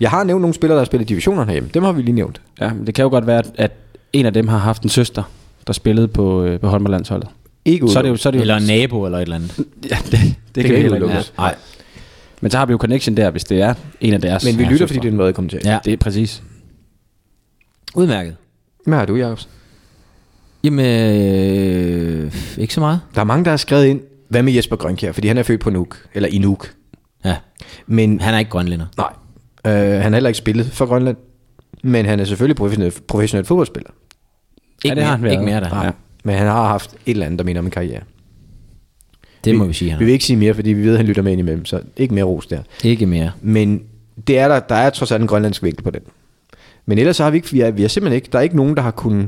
Speaker 2: Jeg har nævnt nogle spillere, der har spillet i divisionerne herhjemme. Dem har vi lige nævnt.
Speaker 4: Ja, men det kan jo godt være, at- at en af dem har haft en søster, der spillede på, øh, på håndboldlandsholdet.
Speaker 2: Ikke
Speaker 4: Så er det jo, så er det jo,
Speaker 3: Eller en nabo eller et eller andet.
Speaker 4: ja, det, det, det, kan
Speaker 2: kan
Speaker 4: vi
Speaker 2: ikke
Speaker 4: heller ikke.
Speaker 2: udelukkes.
Speaker 4: Ja.
Speaker 3: Ja,
Speaker 2: Yes.
Speaker 3: nej.
Speaker 4: Men så har vi jo connection der, hvis det er en af deres.
Speaker 2: Men vi
Speaker 4: ja,
Speaker 2: lytter,
Speaker 4: søstre.
Speaker 2: fordi det er en måde kommentar.
Speaker 3: Ja.
Speaker 4: Det er præcis.
Speaker 3: Udmærket.
Speaker 2: Hvad har du, Jacobs?
Speaker 3: Jamen, øh, ikke så meget.
Speaker 2: Der er mange, der har skrevet ind, hvad med Jesper Grønkjær? Fordi han er født på Nuuk, eller i Nuuk.
Speaker 3: Ja.
Speaker 2: Men
Speaker 3: Han er ikke grønlænder.
Speaker 2: nej, øh, han har heller ikke spillet for Grønland. Men han er selvfølgelig professionel, professionel fodboldspiller.
Speaker 3: Ikke,
Speaker 4: det har
Speaker 3: mere,
Speaker 4: han været.
Speaker 3: ikke mere der.
Speaker 2: Nej. Men han har haft et eller andet, der minder om en karriere.
Speaker 3: Det må vi sige,
Speaker 2: Vi
Speaker 3: han
Speaker 2: vil ikke sige mere, fordi vi ved, at han lytter med ind imellem, så ikke mere ros der.
Speaker 3: er. Ikke mere.
Speaker 2: Men det er der, der er trods alt en grønlandsk vinkel på den. Men ellers så har vi ikke, vi er, vi er simpelthen ikke, der er ikke nogen, der har kunnet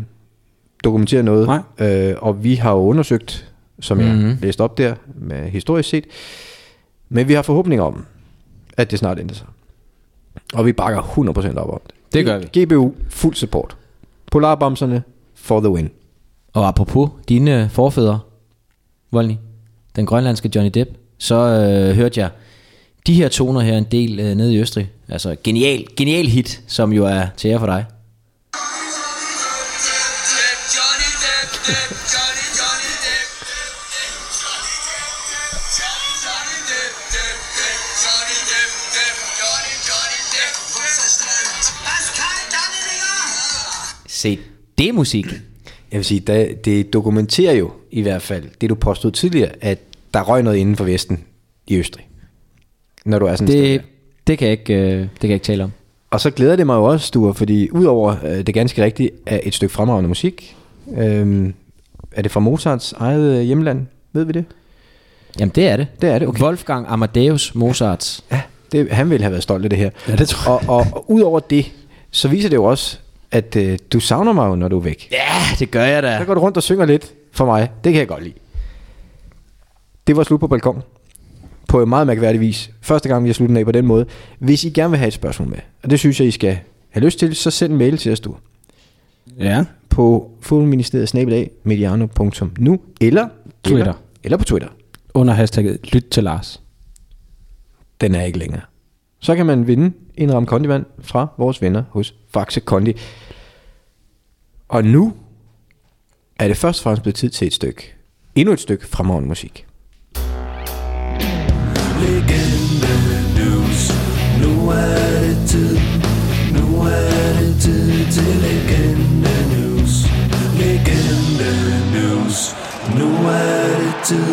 Speaker 2: dokumentere noget. Øh, og vi har jo undersøgt, som mm-hmm.
Speaker 3: Mhm.
Speaker 2: jeg læste op der, med historisk set. Men vi har forhåbninger om, at det snart ændrer sig. Og vi bakker 100% op om det.
Speaker 3: Det gør vi.
Speaker 2: GBU, fuld support. Polarbomserne, for the win.
Speaker 3: Og apropos dine forfædre, Volny, den grønlandske Johnny Depp, så øh, hørte jeg de her toner her en del øh, nede i Østrig. Altså genial, genial hit, som jo er til jer for dig. Se, det er musik.
Speaker 2: Jeg vil sige, da, det dokumenterer jo i hvert fald det, du påstod tidligere, at der røg noget inden for Vesten i Østrig. Når du er sådan et sted
Speaker 3: Det,
Speaker 2: der.
Speaker 3: det, kan jeg ikke, øh, det kan jeg ikke tale om.
Speaker 2: Og så glæder det mig jo også, Sture, fordi udover øh, det ganske rigtige er et stykke fremragende musik, øh, er det fra Mozarts eget øh, hjemland? Ved vi det?
Speaker 3: Jamen det er det.
Speaker 2: Det er det, okay.
Speaker 3: Wolfgang Amadeus Mozarts.
Speaker 2: Ja, det, han ville have været stolt af det her.
Speaker 4: Ja, det tror jeg.
Speaker 2: Og, og, og udover det, så viser det jo også, at øh, du savner mig jo, når du er væk.
Speaker 3: Ja, det gør jeg da.
Speaker 2: Så går du rundt og synger lidt for mig. Det kan jeg godt lide. Det var slut på balkon. På en meget mærkværdig vis. Første gang, vi har sluttet den af på den måde. Hvis I gerne vil have et spørgsmål med, og det synes jeg, I skal have lyst til, så send en mail til os, du.
Speaker 4: Ja.
Speaker 2: På fodboldministeriet snabelag mediano.nu eller, eller,
Speaker 4: Twitter.
Speaker 2: eller på Twitter.
Speaker 4: Under hashtagget lyt til Lars.
Speaker 2: Den er ikke længere. Så kan man vinde en ram kondivand fra vores venner hos Faxe Kondi. Og nu er det først og fremmest blevet tid til et stykke. Endnu et stykke fremragende musik.
Speaker 7: Legende news. Nu er det tid. Nu er det tid til legende news. Legende news. Nu er det tid.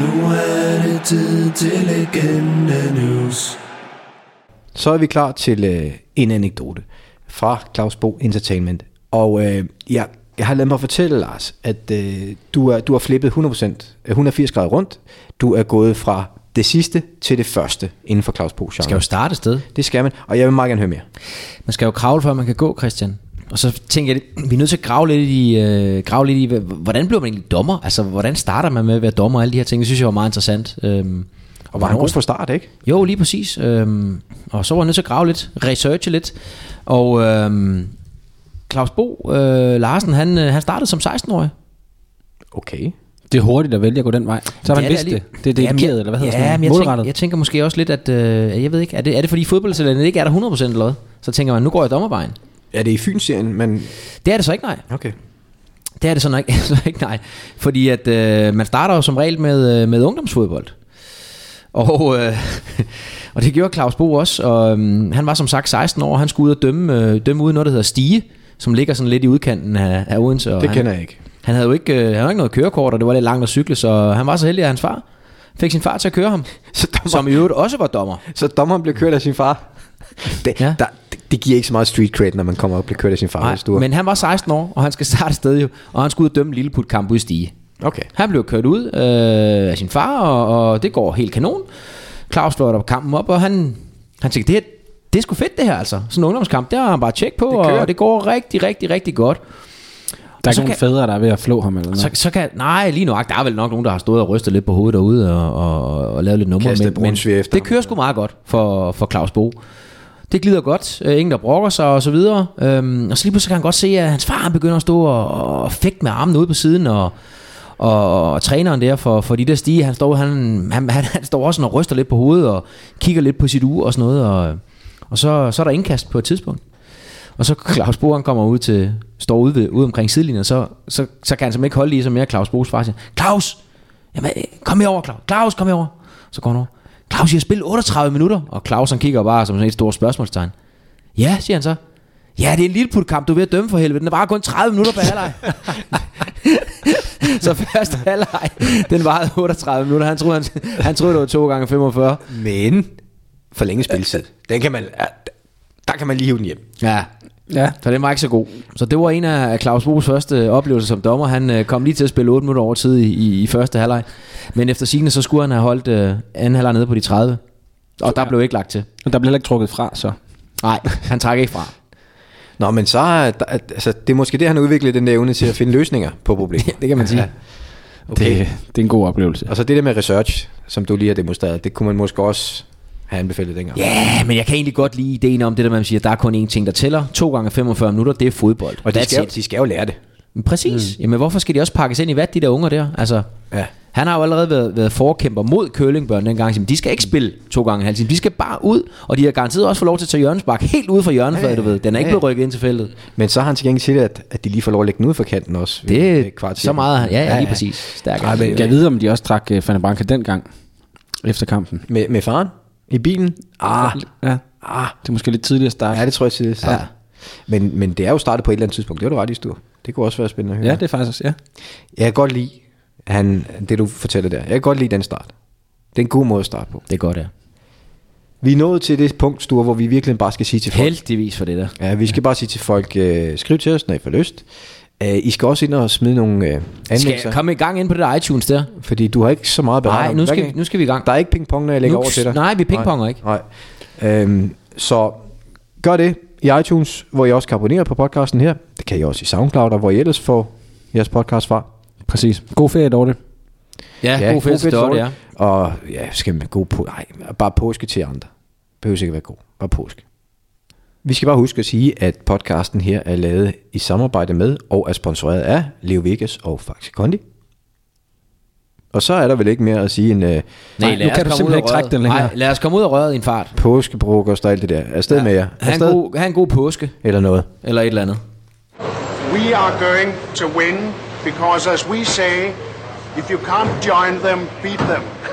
Speaker 7: Nu er det tid til legende news.
Speaker 2: Så er vi klar til øh, en anekdote fra Claus Bo Entertainment. Og øh, jeg, jeg har ladet mig fortælle, Lars, at øh, du, er, du har flippet 100%, øh, 180 grader rundt. Du er gået fra det sidste til det første inden for Claus Bo
Speaker 3: Man skal jo starte et sted.
Speaker 2: Det skal man, og jeg vil meget gerne høre mere.
Speaker 3: Man skal jo kravle, før man kan gå, Christian. Og så tænker jeg, vi er nødt til at grave lidt i, øh, grave lidt i hvad- hvordan bliver man egentlig dommer? Altså, hvordan starter man med at være dommer og alle de her ting? Det synes jeg var meget interessant. Øhm,
Speaker 2: Og var han god fra start, ikke?
Speaker 3: Jo, lige præcis. Øhm, og så var jeg nødt til at grave lidt, researche lidt. Og øhm, Claus Bo øh, Larsen, han, øh, han startede som 16-årig.
Speaker 2: Okay.
Speaker 4: Det er hurtigt at vælge at gå den vej. Så har man vidst det. Det er det,
Speaker 3: Jamen, jeg-
Speaker 4: eller hvad hedder
Speaker 3: ja,
Speaker 4: sådan
Speaker 3: men
Speaker 4: noget?
Speaker 3: jeg, tænker,
Speaker 4: Målrettet.
Speaker 3: jeg tænker måske også lidt, at... Øh, jeg ved ikke, er det, er det fordi fodboldtalenten ikke er der 100% eller hvad? Så tænker man, nu går jeg dommervejen.
Speaker 2: Er det i Fyn-serien, men...
Speaker 3: Det er det så ikke, nej.
Speaker 2: Okay.
Speaker 3: Det er det så nok så ikke, nej. Fordi at øh, man starter jo som regel med, øh, med ungdomsfodbold. Og, øh, og det gjorde Claus Bo også, og øhm, han var som sagt 16 år, og han skulle ud og dømme, øh, dømme ude i noget, der hedder Stige, som ligger sådan lidt i udkanten af, af Odense. Og
Speaker 2: Det
Speaker 3: han,
Speaker 2: kender jeg ikke.
Speaker 3: Han havde jo ikke, øh, han havde ikke noget kørekort, og det var lidt langt at cykle, så han var så heldig, at hans far fik sin far til at køre ham,
Speaker 2: Så dommer-
Speaker 3: som i øvrigt også var dommer.
Speaker 2: Så dommeren blev kørt af sin far. Det, ja.
Speaker 3: Ja.
Speaker 2: der, det, det giver ikke så meget street cred, når man kommer op og bliver kørt af sin far.
Speaker 3: Nej,
Speaker 2: hvis du er-
Speaker 3: men han var 16 år, og han skal starte sted jo, og han skulle ud og dømme Lilleput-kamp ude i Stige.
Speaker 2: Okay.
Speaker 3: Han blev kørt ud øh, af sin far, og, og det går helt kanon. Claus slår op kampen op, og han, han tænker, det, her, det er sgu fedt det her altså. Sådan en ungdomskamp, der har han bare tjek på, det
Speaker 2: kører.
Speaker 3: og det går rigtig, rigtig, rigtig godt.
Speaker 4: Der er
Speaker 3: så
Speaker 4: ikke nogen
Speaker 3: kan-
Speaker 4: fædre, der er ved at flå ham eller noget.
Speaker 3: Så, så kan, nej, lige nu, der er vel nok nogen, der har stået og rystet lidt på hovedet derude og, og, og, og lavet lidt numre.
Speaker 2: Kastet brunsvig efter
Speaker 3: det
Speaker 2: ham.
Speaker 3: kører sgu meget godt for, for Claus Bo. Det glider godt, øh, ingen der brokker sig og så videre. Øhm, og så lige pludselig kan han godt se, at hans far han begynder at stå og, og fægte med armen ude på siden, og, og, og træneren der for, for de der stige, han står, han, han, han, han står også sådan og ryster lidt på hovedet, og kigger lidt på sit uge og sådan noget, og, og så, så er der indkast på et tidspunkt. Og så Claus Bo, han kommer ud til, står ude, ved, ude omkring sidelinjen, så, så, så kan han simpelthen ikke holde i sig mere. Claus Bo's far siger, Claus, jamen, øh, kom herover, Claus, Claus, kom herover. Så går han over, Claus, jeg har spillet 38 minutter. Og Claus, han kigger bare som sådan et stort spørgsmålstegn. Ja, siger han så. Ja, det er en lille kamp du er ved at dømme for helvede. Den er bare kun 30 minutter på halvleg. så første halvleg, den varede 38 minutter. Han troede, han, han troede det var 2 gange 45.
Speaker 2: Men for længe spilletid. Den kan man, ja, der kan man lige hive den hjem.
Speaker 3: Ja,
Speaker 4: Ja.
Speaker 3: Så den var ikke så god. Så det var en af Claus Boes første oplevelser som dommer. Han øh, kom lige til at spille 8 minutter over tid i, i, i første halvleg. Men efter sigende, så skulle han have holdt øh, anden halvleg nede på de 30. Og der blev ikke lagt til.
Speaker 4: Men der bliver heller ikke trukket fra, så.
Speaker 3: Nej, han trak ikke fra.
Speaker 2: Nå, men så er der, altså, det er måske det, han har udviklet den der evne til at finde løsninger på problemer.
Speaker 3: Det kan man sige.
Speaker 2: Okay.
Speaker 4: Det, det er en god oplevelse.
Speaker 2: Og så det der med research, som du lige har demonstreret, det kunne man måske også han anbefalede dengang.
Speaker 3: Ja, men jeg kan egentlig godt lide ideen om det der, man siger, der er kun én ting, der tæller. To gange 45 minutter, det er fodbold.
Speaker 2: Og de
Speaker 3: That's
Speaker 2: skal, jo-
Speaker 3: it.
Speaker 2: de skal jo lære det.
Speaker 3: Men Præcis. Mm. Jamen, hvorfor skal de også pakkes ind i vat, de der unger der? Altså,
Speaker 2: Ja.
Speaker 3: han har jo allerede været, været forkæmper mod curlingbørn dengang. Siger, De skal ikke spille to gange en halv time. De skal bare ud, og de har garanteret også fået lov til at tage hjørnespark helt ude fra hjørnefladet, du ved. Den er ikke
Speaker 2: Ja, ja.
Speaker 3: blevet rykket ind til feltet.
Speaker 2: Men så har han til gengæld til, at, at de lige får lov at lægge den ud for kanten også. ved- ved
Speaker 3: Det er
Speaker 2: kvart
Speaker 3: så
Speaker 2: cirka.
Speaker 3: meget. Ja, ja, lige præcis. Stærk.
Speaker 4: Ej, men, jeg ved, om de også drak øh, Fanabranca dengang, efter kampen.
Speaker 2: Med, med faren i bilen. Ah,
Speaker 4: Ja. Det er måske lidt tidligere at starte.
Speaker 2: ja, det tror jeg til det. Ja. Men, men det er jo startet på et eller andet tidspunkt. Det er du ret i, Stur. Det kunne også være spændende at høre.
Speaker 4: Ja, det er faktisk også, ja.
Speaker 2: Jeg kan godt lide han, det, du fortæller der. Jeg kan godt lide den start. Det er en god måde at starte på.
Speaker 3: Det er godt, ja.
Speaker 2: Vi er nået til det punkt, Sture, hvor vi virkelig bare skal sige til folk...
Speaker 3: Heldigvis for det der.
Speaker 2: Ja, vi skal bare sige til folk, øh, skriv til os, når I får lyst. Øh, I skal også ind og smide nogle øh,
Speaker 3: Skal
Speaker 2: anmeldelser,
Speaker 3: jeg komme i gang ind på det der iTunes der?
Speaker 2: fordi du har ikke så meget beregnet.
Speaker 3: Nej, nu skal, vi- nu skal vi i gang.
Speaker 2: Der er ikke pingpong, når jeg lægger
Speaker 3: Nu-
Speaker 2: over til dig.
Speaker 3: nej, vi pingponger ikke.
Speaker 2: Nej. Øhm, så gør det i iTunes, hvor I også kan abonnere på podcasten her. Det kan I også i SoundCloud, og hvor I ellers får jeres podcast fra.
Speaker 4: Præcis. God ferie, Dorte.
Speaker 3: Ja, god fest, det
Speaker 2: Dorte.
Speaker 3: er det,
Speaker 2: Og ja, skal man god på... Nej, bare påske til andre. Behøver ikke at være god. Bare påske. Vi skal bare huske at sige, at podcasten her er lavet i samarbejde med og er sponsoreret af Leo Vegas og Faxe Kondi. Og så er der vel ikke mere at sige en øh,
Speaker 3: Nej,
Speaker 4: nu kan du simpelthen ikke trække den længere.
Speaker 3: Nej, lad os komme ud af røret i en fart.
Speaker 2: påskebrokost og alt det der. Afsted ja, med jer.
Speaker 3: Ha' en,
Speaker 2: Afsted.
Speaker 3: god, ha en god påske,
Speaker 2: Eller noget.
Speaker 3: eller et eller andet.
Speaker 11: We are going to win because, as we say, if you can't join them, beat them.